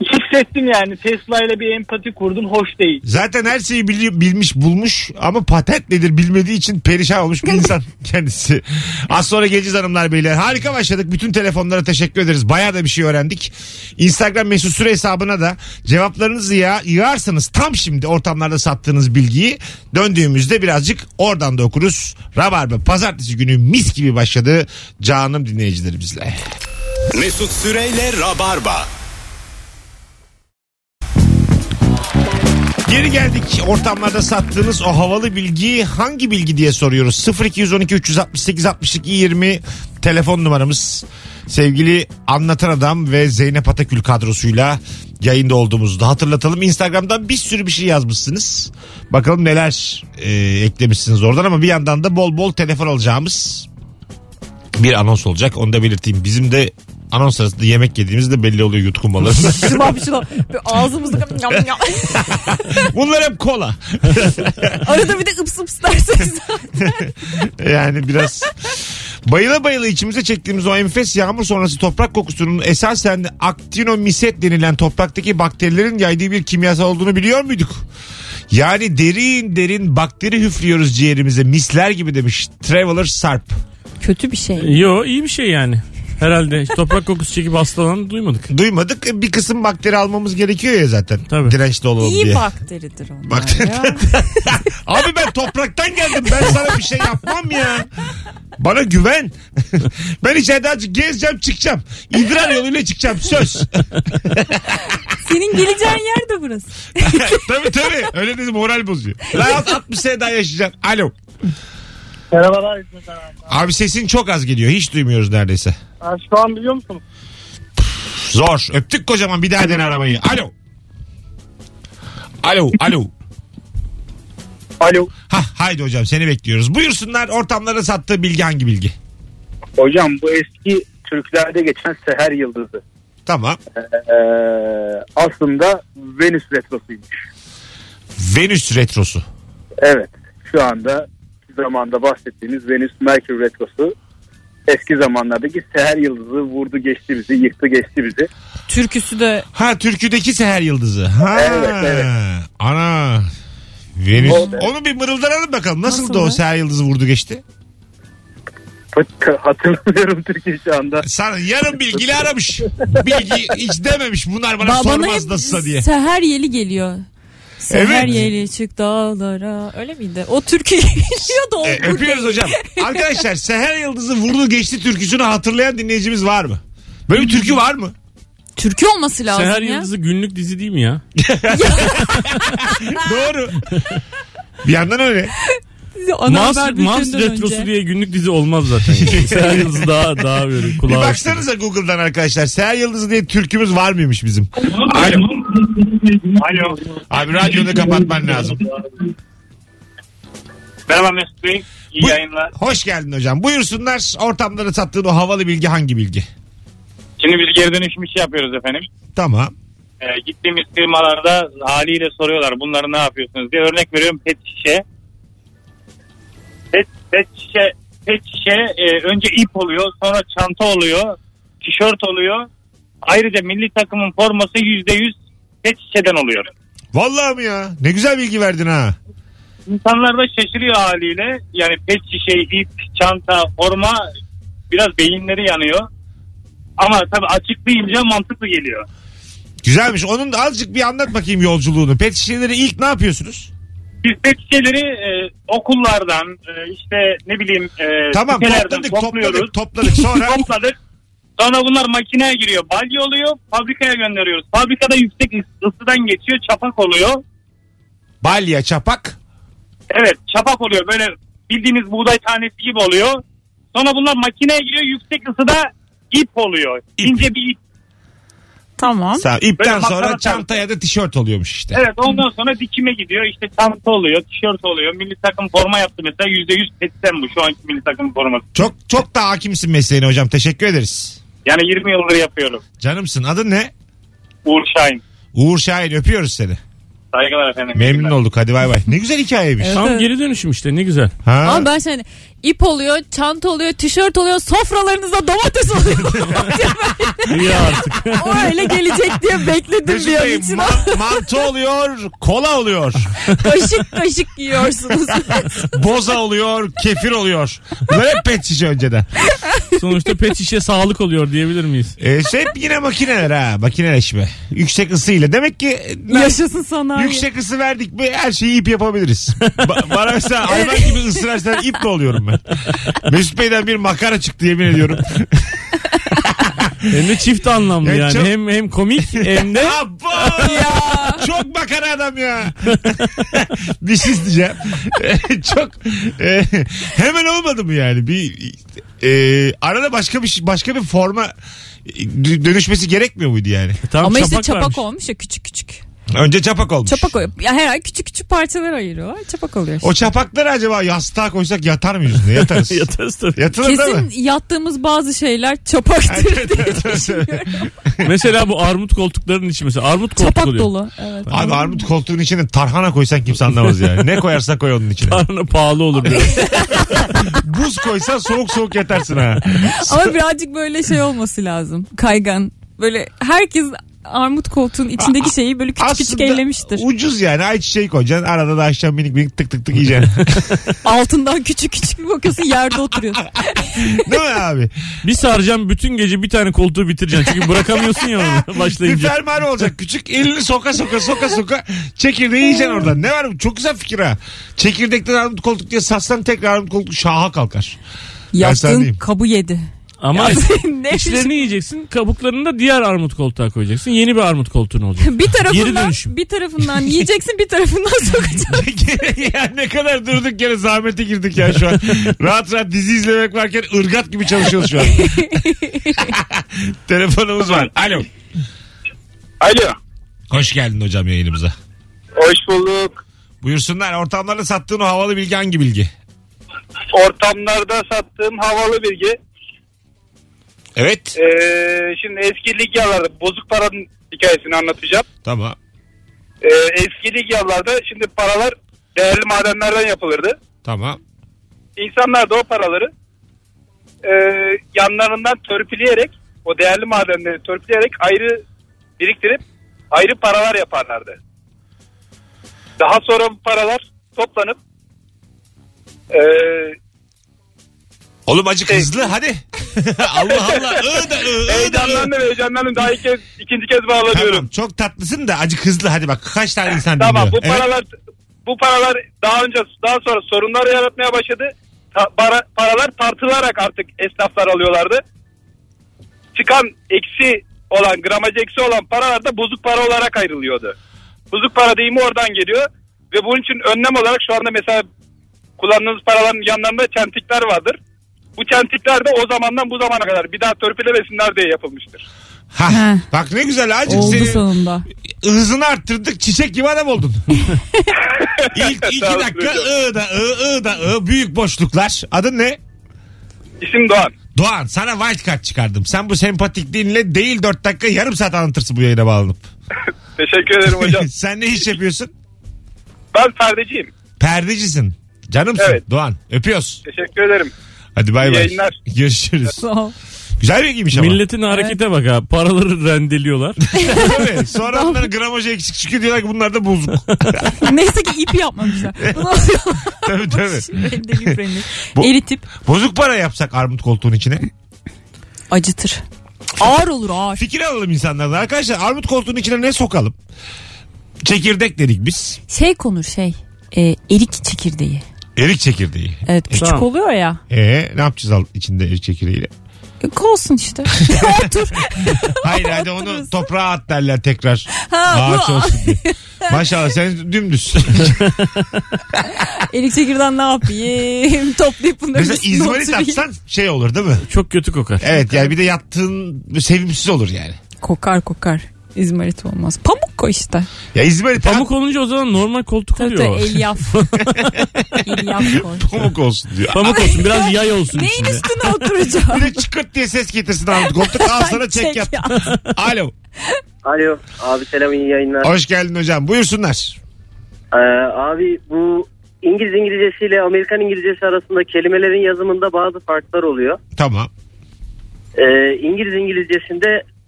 [SPEAKER 9] Hissettim yani Tesla ile bir empati kurdum hoş değil.
[SPEAKER 2] Zaten her şeyi bili- bilmiş bulmuş ama patent nedir bilmediği için perişan olmuş bir insan kendisi. Az sonra geleceğiz hanımlar beyler. Harika başladık. Bütün telefonlara teşekkür ederiz. Bayağı da bir şey öğrendik. Instagram mesut süre hesabına da cevaplarınızı ya yığarsanız tam şimdi ortamlarda sattığınız bilgiyi döndüğümüzde birazcık oradan da okuruz. Rabarba pazartesi günü mis gibi başladı canım dinleyicilerimizle.
[SPEAKER 1] Mesut Süreyle Rabarba.
[SPEAKER 2] Geri geldik. Ortamlarda sattığınız o havalı bilgiyi hangi bilgi diye soruyoruz. 0212 368 62 20 telefon numaramız. Sevgili Anlatan Adam ve Zeynep Atakül kadrosuyla yayında olduğumuzu da hatırlatalım. Instagram'dan bir sürü bir şey yazmışsınız. Bakalım neler e, eklemişsiniz oradan ama bir yandan da bol bol telefon alacağımız bir anons olacak. Onu da belirteyim. Bizim de anons sırasında yemek yediğimizde belli oluyor yutkunmalarımız.
[SPEAKER 3] Şıbap şıbap. Böyle Ağzımızda yam yam.
[SPEAKER 2] Bunlar hep kola.
[SPEAKER 3] Arada bir de ıps ıps derseniz.
[SPEAKER 2] Yani biraz bayıla bayıla içimize çektiğimiz o enfes yağmur sonrası toprak kokusunun esasen aktinomiset denilen topraktaki bakterilerin yaydığı bir kimyasal olduğunu biliyor muyduk? Yani derin derin bakteri hüflüyoruz ciğerimize misler gibi demiş Traveler Sarp.
[SPEAKER 3] Kötü bir şey.
[SPEAKER 4] Yo iyi bir şey yani. Herhalde toprak kokusu çekip hastalananı duymadık.
[SPEAKER 2] Duymadık bir kısım bakteri almamız gerekiyor ya zaten
[SPEAKER 4] Tabii.
[SPEAKER 2] dirençli olalım diye.
[SPEAKER 3] İyi bakteridir onlar
[SPEAKER 2] Bakteri-
[SPEAKER 3] ya.
[SPEAKER 2] Abi ben topraktan geldim ben sana bir şey yapmam ya. Bana güven. ben içeride azıcık gezeceğim çıkacağım. İdrar yoluyla çıkacağım söz.
[SPEAKER 3] Senin geleceğin yer de burası.
[SPEAKER 2] tabii tabii. Öyle dedim moral bozuyor. Rahat 60 sene şey daha yaşayacaksın. Alo.
[SPEAKER 9] Merhabalar
[SPEAKER 2] Abi sesin çok az geliyor. Hiç duymuyoruz neredeyse.
[SPEAKER 9] Şu an biliyor musunuz?
[SPEAKER 2] Zor. Öptük kocaman bir daha dene arabayı. Alo. Alo. Alo.
[SPEAKER 9] Alo.
[SPEAKER 2] Hah haydi hocam seni bekliyoruz. Buyursunlar ortamlara sattığı bilgi hangi bilgi?
[SPEAKER 7] Hocam bu eski Türklerde geçen seher yıldızı.
[SPEAKER 2] Tamam.
[SPEAKER 7] Ee, aslında Venüs retrosuymuş.
[SPEAKER 2] Venüs retrosu.
[SPEAKER 7] Evet. Şu anda zamanda bahsettiğimiz Venüs Merkür retrosu eski zamanlardaki seher yıldızı vurdu geçti bizi, yıktı geçti bizi.
[SPEAKER 3] Türküsü de
[SPEAKER 2] Ha türküdeki seher yıldızı. Ha.
[SPEAKER 7] Evet, evet.
[SPEAKER 2] Ana. Venüs.
[SPEAKER 7] O-
[SPEAKER 2] Onu bir mırıldanalım bakalım. Nasıldı
[SPEAKER 3] Nasıldı?
[SPEAKER 2] o seher yıldızı vurdu geçti?
[SPEAKER 7] Fıt- Hatırlamıyorum Türkiye şu anda.
[SPEAKER 2] Sana yarım bilgili aramış. Bilgi hiç dememiş. Bunlar bana
[SPEAKER 3] Ba-
[SPEAKER 2] sormaz nasılsa diye.
[SPEAKER 3] seher yeli geliyor. Seher
[SPEAKER 2] Evet.
[SPEAKER 3] yeli çık dağlara. Öyle miydi? O türkü geliyor da o
[SPEAKER 2] E,
[SPEAKER 3] bu
[SPEAKER 2] öpüyoruz
[SPEAKER 3] değil.
[SPEAKER 2] hocam. Arkadaşlar Seher Yıldız'ı vurdu geçti türküsünü hatırlayan dinleyicimiz var mı? Böyle bir türkü var mı?
[SPEAKER 3] Türkü olması lazım
[SPEAKER 4] Seher
[SPEAKER 3] ya.
[SPEAKER 4] Yıldızı günlük dizi değil mi ya?
[SPEAKER 2] Doğru. Bir yandan öyle.
[SPEAKER 3] Ana
[SPEAKER 4] Mars,
[SPEAKER 3] haber
[SPEAKER 4] Mars
[SPEAKER 3] bülteninden
[SPEAKER 4] Retrosu
[SPEAKER 3] önce.
[SPEAKER 4] diye günlük dizi olmaz zaten. yani. Seher Yıldızı daha, daha böyle
[SPEAKER 2] Bir
[SPEAKER 4] kulağa.
[SPEAKER 2] baksanıza Google'dan arkadaşlar. Seher Yıldızı diye türkümüz var mıymış bizim? Alo.
[SPEAKER 9] Alo.
[SPEAKER 2] Abi radyonu kapatman lazım.
[SPEAKER 9] Merhaba Mesut Bey. İyi
[SPEAKER 2] Bu-
[SPEAKER 9] yayınlar.
[SPEAKER 2] Hoş geldin hocam. Buyursunlar ortamlara sattığın o havalı bilgi hangi bilgi?
[SPEAKER 9] Şimdi biz geri dönüşüm işi yapıyoruz efendim.
[SPEAKER 2] Tamam.
[SPEAKER 9] Ee, gittiğimiz firmalarda haliyle soruyorlar bunları ne yapıyorsunuz diye. Örnek veriyorum pet şişe. Pet, pet şişe, pet şişe e, önce ip oluyor sonra çanta oluyor. Tişört oluyor. Ayrıca milli takımın forması %100 pet şişeden oluyor.
[SPEAKER 2] Vallahi mi ya? Ne güzel bilgi verdin ha.
[SPEAKER 9] İnsanlar da şaşırıyor haliyle. Yani pet şişe, ip, çanta, forma biraz beyinleri yanıyor. Ama tabii açıklayınca mantıklı geliyor.
[SPEAKER 2] Güzelmiş. Onun da azıcık bir anlat bakayım yolculuğunu. Pet şişeleri ilk ne yapıyorsunuz?
[SPEAKER 9] Biz pet şişeleri e, okullardan e, işte ne bileyim e,
[SPEAKER 2] Tamam
[SPEAKER 9] sitelerden
[SPEAKER 2] topladık
[SPEAKER 9] topluyoruz.
[SPEAKER 2] topladık topladık. Sonra
[SPEAKER 9] Topladık. Sonra bunlar makineye giriyor. Balya oluyor. Fabrikaya gönderiyoruz. Fabrikada yüksek ıs- ısıdan geçiyor. Çapak oluyor.
[SPEAKER 2] balya çapak.
[SPEAKER 9] Evet çapak oluyor. Böyle bildiğiniz buğday tanesi gibi oluyor. Sonra bunlar makineye giriyor. Yüksek ısıda ip oluyor.
[SPEAKER 2] İp.
[SPEAKER 9] İnce bir ip.
[SPEAKER 3] Tamam.
[SPEAKER 2] Sağ, ipten
[SPEAKER 9] Böyle
[SPEAKER 2] sonra
[SPEAKER 9] makarna
[SPEAKER 2] çanta ya da tişört oluyormuş işte.
[SPEAKER 9] Evet ondan sonra dikime gidiyor. İşte çanta oluyor, tişört oluyor. Milli takım forma yaptı mesela. %100 petten bu şu anki milli takım forması.
[SPEAKER 2] Çok çok da hakimsin mesleğine hocam. Teşekkür ederiz.
[SPEAKER 9] Yani 20 yıldır yapıyorum.
[SPEAKER 2] Canımsın. Adın ne?
[SPEAKER 9] Uğur Şahin.
[SPEAKER 2] Uğur Şahin. Öpüyoruz seni.
[SPEAKER 9] Saygılar efendim.
[SPEAKER 2] Memnun olduk hadi bay bay. Ne güzel hikayeymiş.
[SPEAKER 3] Evet.
[SPEAKER 4] Tam geri dönüşüm işte ne güzel.
[SPEAKER 2] Ha?
[SPEAKER 3] Ama ben şimdi ip oluyor, çanta oluyor, tişört oluyor, sofralarınızda domates oluyor.
[SPEAKER 4] İyi artık.
[SPEAKER 3] o öyle gelecek diye bekledim
[SPEAKER 2] Mesut
[SPEAKER 3] bir an
[SPEAKER 2] Bey,
[SPEAKER 3] için.
[SPEAKER 2] ma- mantı oluyor, kola oluyor,
[SPEAKER 3] kaşık kaşık yiyorsunuz.
[SPEAKER 2] boza oluyor, kefir oluyor. Bunlar hep pet şişe önceden.
[SPEAKER 4] Sonuçta pet şişe sağlık oluyor diyebilir miyiz?
[SPEAKER 2] Ee, şey hep yine makineler ha, makineleşme. Yüksek ısıyla. Demek ki e,
[SPEAKER 3] Yaşasın sanayi.
[SPEAKER 2] yüksek ısı verdik mi her şeyi ip yapabiliriz. Ba- bana mesela hayvan gibi ısırarsan ip de oluyorum ben. Mesut Bey'den bir makara çıktı yemin ediyorum.
[SPEAKER 4] Hem de çift anlamlı
[SPEAKER 2] Ya
[SPEAKER 4] yani.
[SPEAKER 2] çok-
[SPEAKER 4] Hem hem komik hem de
[SPEAKER 2] Abo! Çok makara adam ya. bir şey isteyeceğim. Çok e, hemen olmadı mı yani? Bir e, arada başka bir şey- başka bir forma dö- dönüşmesi gerekmiyor muydu yani?
[SPEAKER 4] tam
[SPEAKER 3] Ama işte çapak
[SPEAKER 4] vermiş.
[SPEAKER 3] olmuş ya küçük küçük.
[SPEAKER 2] Önce çapak olmuş.
[SPEAKER 3] Çapak oluyor. Ya her ay küçük küçük parçalar ayırıyorlar. Çapak oluyor. işte.
[SPEAKER 2] O çapakları acaba yastığa koysak yatar mıyız? üstüne? Yatarız.
[SPEAKER 4] Yatarız tabii.
[SPEAKER 2] Yatılır değil
[SPEAKER 3] Kesin
[SPEAKER 2] mi?
[SPEAKER 3] yattığımız bazı şeyler çapaktır.
[SPEAKER 4] mesela bu armut koltukların içi mesela armut koltuk
[SPEAKER 3] Çapak
[SPEAKER 4] oluyor.
[SPEAKER 3] dolu. Evet.
[SPEAKER 2] Abi armut koltuğun içine tarhana koysan kimse anlamaz yani. Ne koyarsan koy onun içine.
[SPEAKER 4] Arna pahalı olur diyor.
[SPEAKER 2] Buz koysan soğuk soğuk yatarsın ha.
[SPEAKER 3] Ama birazcık böyle şey olması lazım. Kaygan. Böyle herkes armut koltuğun içindeki şeyi böyle küçük küçük
[SPEAKER 2] Aslında
[SPEAKER 3] ellemiştir.
[SPEAKER 2] Ucuz yani ayçiçeği koyacaksın. Arada da akşam minik minik tık tık tık yiyeceksin.
[SPEAKER 3] Altından küçük küçük bir bakıyorsun yerde oturuyorsun.
[SPEAKER 2] Değil mi abi?
[SPEAKER 4] bir saracağım bütün gece bir tane koltuğu bitireceksin. Çünkü bırakamıyorsun ya onu
[SPEAKER 2] Bir
[SPEAKER 4] başlayınca.
[SPEAKER 2] fermuar olacak küçük. Elini soka soka soka soka çekirdeği yiyeceksin oradan. Ne var bu? Çok güzel fikir ha. Çekirdekten armut koltuk diye satsan tekrar armut koltuk şaha kalkar.
[SPEAKER 3] Yaptığın
[SPEAKER 2] Efsaneyim.
[SPEAKER 3] kabı yedi.
[SPEAKER 4] Ama
[SPEAKER 3] ne
[SPEAKER 4] içlerini yiyeceksin kabuklarını da diğer armut koltuğa koyacaksın. Yeni bir armut koltuğun olacak.
[SPEAKER 3] bir
[SPEAKER 4] Geri
[SPEAKER 3] tarafından
[SPEAKER 4] dönüşüm.
[SPEAKER 3] bir tarafından yiyeceksin bir tarafından sokacaksın.
[SPEAKER 2] ya ne kadar durduk yere zahmete girdik ya şu an. rahat rahat dizi izlemek varken ırgat gibi çalışıyoruz şu an. Telefonumuz var. Alo.
[SPEAKER 10] Alo.
[SPEAKER 2] Hoş geldin hocam yayınımıza.
[SPEAKER 10] Hoş bulduk.
[SPEAKER 2] Buyursunlar ortamlarda sattığın o havalı bilgi hangi bilgi?
[SPEAKER 10] Ortamlarda sattığım havalı bilgi.
[SPEAKER 2] Evet.
[SPEAKER 10] Ee, şimdi eski ligyalarda bozuk paranın hikayesini anlatacağım.
[SPEAKER 2] Tamam.
[SPEAKER 10] Ee, eski ligyalarda şimdi paralar değerli madenlerden yapılırdı.
[SPEAKER 2] Tamam.
[SPEAKER 10] İnsanlar da o paraları e, yanlarından törpüleyerek o değerli madenleri törpüleyerek ayrı biriktirip ayrı paralar yaparlardı. Daha sonra bu paralar toplanıp e,
[SPEAKER 2] Oğlum acık
[SPEAKER 10] Şey-
[SPEAKER 2] hızlı hadi. Allah Allah. I da ı, ı da ı.
[SPEAKER 10] heyecanlandım heyecanlandım daha ilk kez, ikinci kez
[SPEAKER 2] Tamam
[SPEAKER 10] bağlanıyorum.
[SPEAKER 2] çok tatlısın da acık hızlı hadi bak kaç tane insan
[SPEAKER 10] Tamam, bu
[SPEAKER 2] dinliyor. Evet.
[SPEAKER 10] paralar bu paralar daha önce daha sonra sorunlar yaratmaya başladı. Ta- para- paralar tartılarak artık esnaflar alıyorlardı. Çıkan eksi olan gramaj eksi olan paralar da bozuk para olarak ayrılıyordu. Bozuk para deyimi oradan geliyor ve bunun için önlem olarak şu anda mesela kullandığınız paraların yanlarında çentikler vardır. Bu çentikler de o zamandan bu zamana kadar bir daha törpülemesinler diye yapılmıştır.
[SPEAKER 2] Ha, bak ne güzel acık
[SPEAKER 3] Oldu
[SPEAKER 2] seni
[SPEAKER 3] sonunda.
[SPEAKER 2] hızını arttırdık çiçek gibi adam oldun. İlk iki
[SPEAKER 10] Sağ olun
[SPEAKER 2] dakika
[SPEAKER 10] hocam.
[SPEAKER 2] ı da ı ı da ı büyük boşluklar. Adın ne?
[SPEAKER 10] İsim Doğan.
[SPEAKER 2] Doğan sana wild card çıkardım. Sen bu sempatikliğinle değil dört dakika yarım saat anlatırsın bu yayına bağlanıp.
[SPEAKER 10] Teşekkür ederim hocam.
[SPEAKER 2] Sen ne iş yapıyorsun?
[SPEAKER 10] ben perdeciyim.
[SPEAKER 2] Perdecisin. Canımsın
[SPEAKER 10] Evet.
[SPEAKER 2] Doğan. Öpüyoruz.
[SPEAKER 10] Teşekkür ederim.
[SPEAKER 2] Hadi bay
[SPEAKER 10] İyi
[SPEAKER 2] bay.
[SPEAKER 10] yayınlar.
[SPEAKER 2] Görüşürüz.
[SPEAKER 3] Sağ ol.
[SPEAKER 2] Güzel bilgiymiş ama.
[SPEAKER 4] Milletin harekete bak ha. Paraları rendeliyorlar.
[SPEAKER 2] Değil mi? Sonra onların gramajı eksik çıkıyor diyorlar ki bunlar da bozuk.
[SPEAKER 3] Neyse ki ip yapmamışlar. Bunu alıyorlar.
[SPEAKER 2] tabii tabii.
[SPEAKER 3] Rende gibi rende.
[SPEAKER 2] Bu-
[SPEAKER 3] Eritip
[SPEAKER 2] Bozuk para yapsak armut koltuğun içine.
[SPEAKER 3] acıtır. Ağır olur ağır.
[SPEAKER 2] Fikir alalım insanlardan. Arkadaşlar armut koltuğun içine ne sokalım? Çekirdek dedik biz.
[SPEAKER 3] Şey konur şey. E, erik çekirdeği.
[SPEAKER 2] Erik çekirdeği.
[SPEAKER 3] Evet küçük
[SPEAKER 4] Tamam.
[SPEAKER 3] oluyor ya.
[SPEAKER 2] Ee, ne yapacağız al- içinde erik çekirdeğiyle?
[SPEAKER 3] E, Olsun işte. Otur.
[SPEAKER 2] Hayır hadi onu toprağa at derler tekrar.
[SPEAKER 3] Ha,
[SPEAKER 2] Ağaç
[SPEAKER 3] bu
[SPEAKER 2] olsun diye. Maşallah sen dümdüz.
[SPEAKER 3] erik çekirden ne yapayım? Toplayıp bunları
[SPEAKER 2] Mesela
[SPEAKER 3] üstüne
[SPEAKER 2] İzmarit
[SPEAKER 3] oturayım.
[SPEAKER 2] atsan şey olur değil mi?
[SPEAKER 4] Çok kötü kokar.
[SPEAKER 2] Evet yani bir de yattığın sevimsiz olur yani.
[SPEAKER 3] Kokar kokar. İzmarit olmaz. Pamuk ko işte.
[SPEAKER 2] Ya İzmarit at-
[SPEAKER 4] Pamuk olunca o zaman normal koltuk
[SPEAKER 3] Tabii tabii
[SPEAKER 4] oluyor.
[SPEAKER 3] elyaf. elyaf koy.
[SPEAKER 2] pamuk olsun diyor.
[SPEAKER 4] Pamuk olsun biraz yay olsun
[SPEAKER 3] Neyin
[SPEAKER 4] içinde.
[SPEAKER 3] üstüne
[SPEAKER 2] Bir
[SPEAKER 3] oturacağım?
[SPEAKER 2] de çıkırt diye ses getirsin Armut Koltuk. Al sana çek yat.
[SPEAKER 3] yat.
[SPEAKER 2] Alo.
[SPEAKER 11] Alo abi selam iyi yayınlar.
[SPEAKER 2] Hoş geldin hocam. Buyursunlar.
[SPEAKER 11] Ee, abi bu İngiliz İngilizcesi ile Amerikan İngilizcesi arasında kelimelerin yazımında bazı farklar oluyor.
[SPEAKER 2] Tamam.
[SPEAKER 11] Ee, İngiliz İngilizcesinde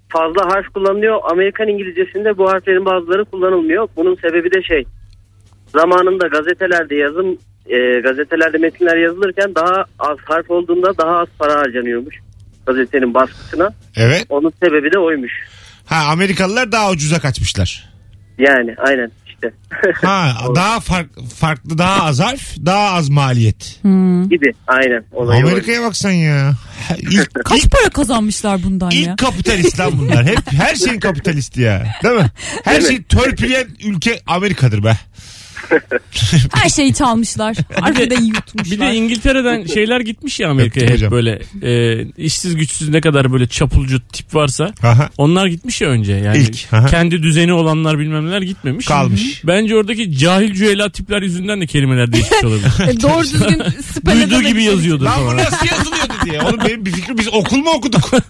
[SPEAKER 11] fazla harf kullanılıyor. Amerikan İngilizcesinde bu harflerin bazıları kullanılmıyor. Bunun sebebi de şey. Zamanında gazetelerde yazım e, gazetelerde metinler yazılırken daha az harf olduğunda daha az para harcanıyormuş gazetenin baskısına.
[SPEAKER 2] Evet.
[SPEAKER 11] Onun sebebi de oymuş.
[SPEAKER 2] Ha Amerikalılar daha ucuza kaçmışlar.
[SPEAKER 11] Yani aynen işte.
[SPEAKER 2] Ha daha fark, farklı daha az harf daha az maliyet.
[SPEAKER 11] gibi aynen. Olayı oymuş.
[SPEAKER 2] Amerika'ya baksan ya. Ha, İlk,
[SPEAKER 3] Kaç para kazanmışlar bundan ya?
[SPEAKER 2] ilk kapitalist lan bunlar. Hep her şeyin kapitalisti ya. Değil mi? Her
[SPEAKER 11] Değil mi?
[SPEAKER 2] şeyi törpüleyen ülke Amerika'dır be.
[SPEAKER 3] Her şeyi çalmışlar. Arkada
[SPEAKER 4] Bir de
[SPEAKER 3] yutmuşlar.
[SPEAKER 4] İngiltere'den şeyler gitmiş ya Amerika'ya
[SPEAKER 2] Yaptım
[SPEAKER 4] hep
[SPEAKER 2] hocam.
[SPEAKER 4] böyle e, işsiz güçsüz ne kadar böyle çapulcu tip varsa
[SPEAKER 2] Aha.
[SPEAKER 4] onlar gitmiş ya önce yani
[SPEAKER 2] İlk, aha.
[SPEAKER 4] kendi düzeni olanlar bilmem neler gitmemiş.
[SPEAKER 2] Kalmış.
[SPEAKER 4] Bence oradaki cahil cüela tipler yüzünden de kelimeler değişmiş olabilir.
[SPEAKER 3] E, Doğru düzgün siper
[SPEAKER 4] Duyduğu
[SPEAKER 3] edemedik.
[SPEAKER 2] şey
[SPEAKER 4] gibi yazıyordu
[SPEAKER 2] Lan bu
[SPEAKER 4] falan.
[SPEAKER 2] nasıl yazılıyordu diye. Oğlum benim bir fikrim biz okul mu okuduk?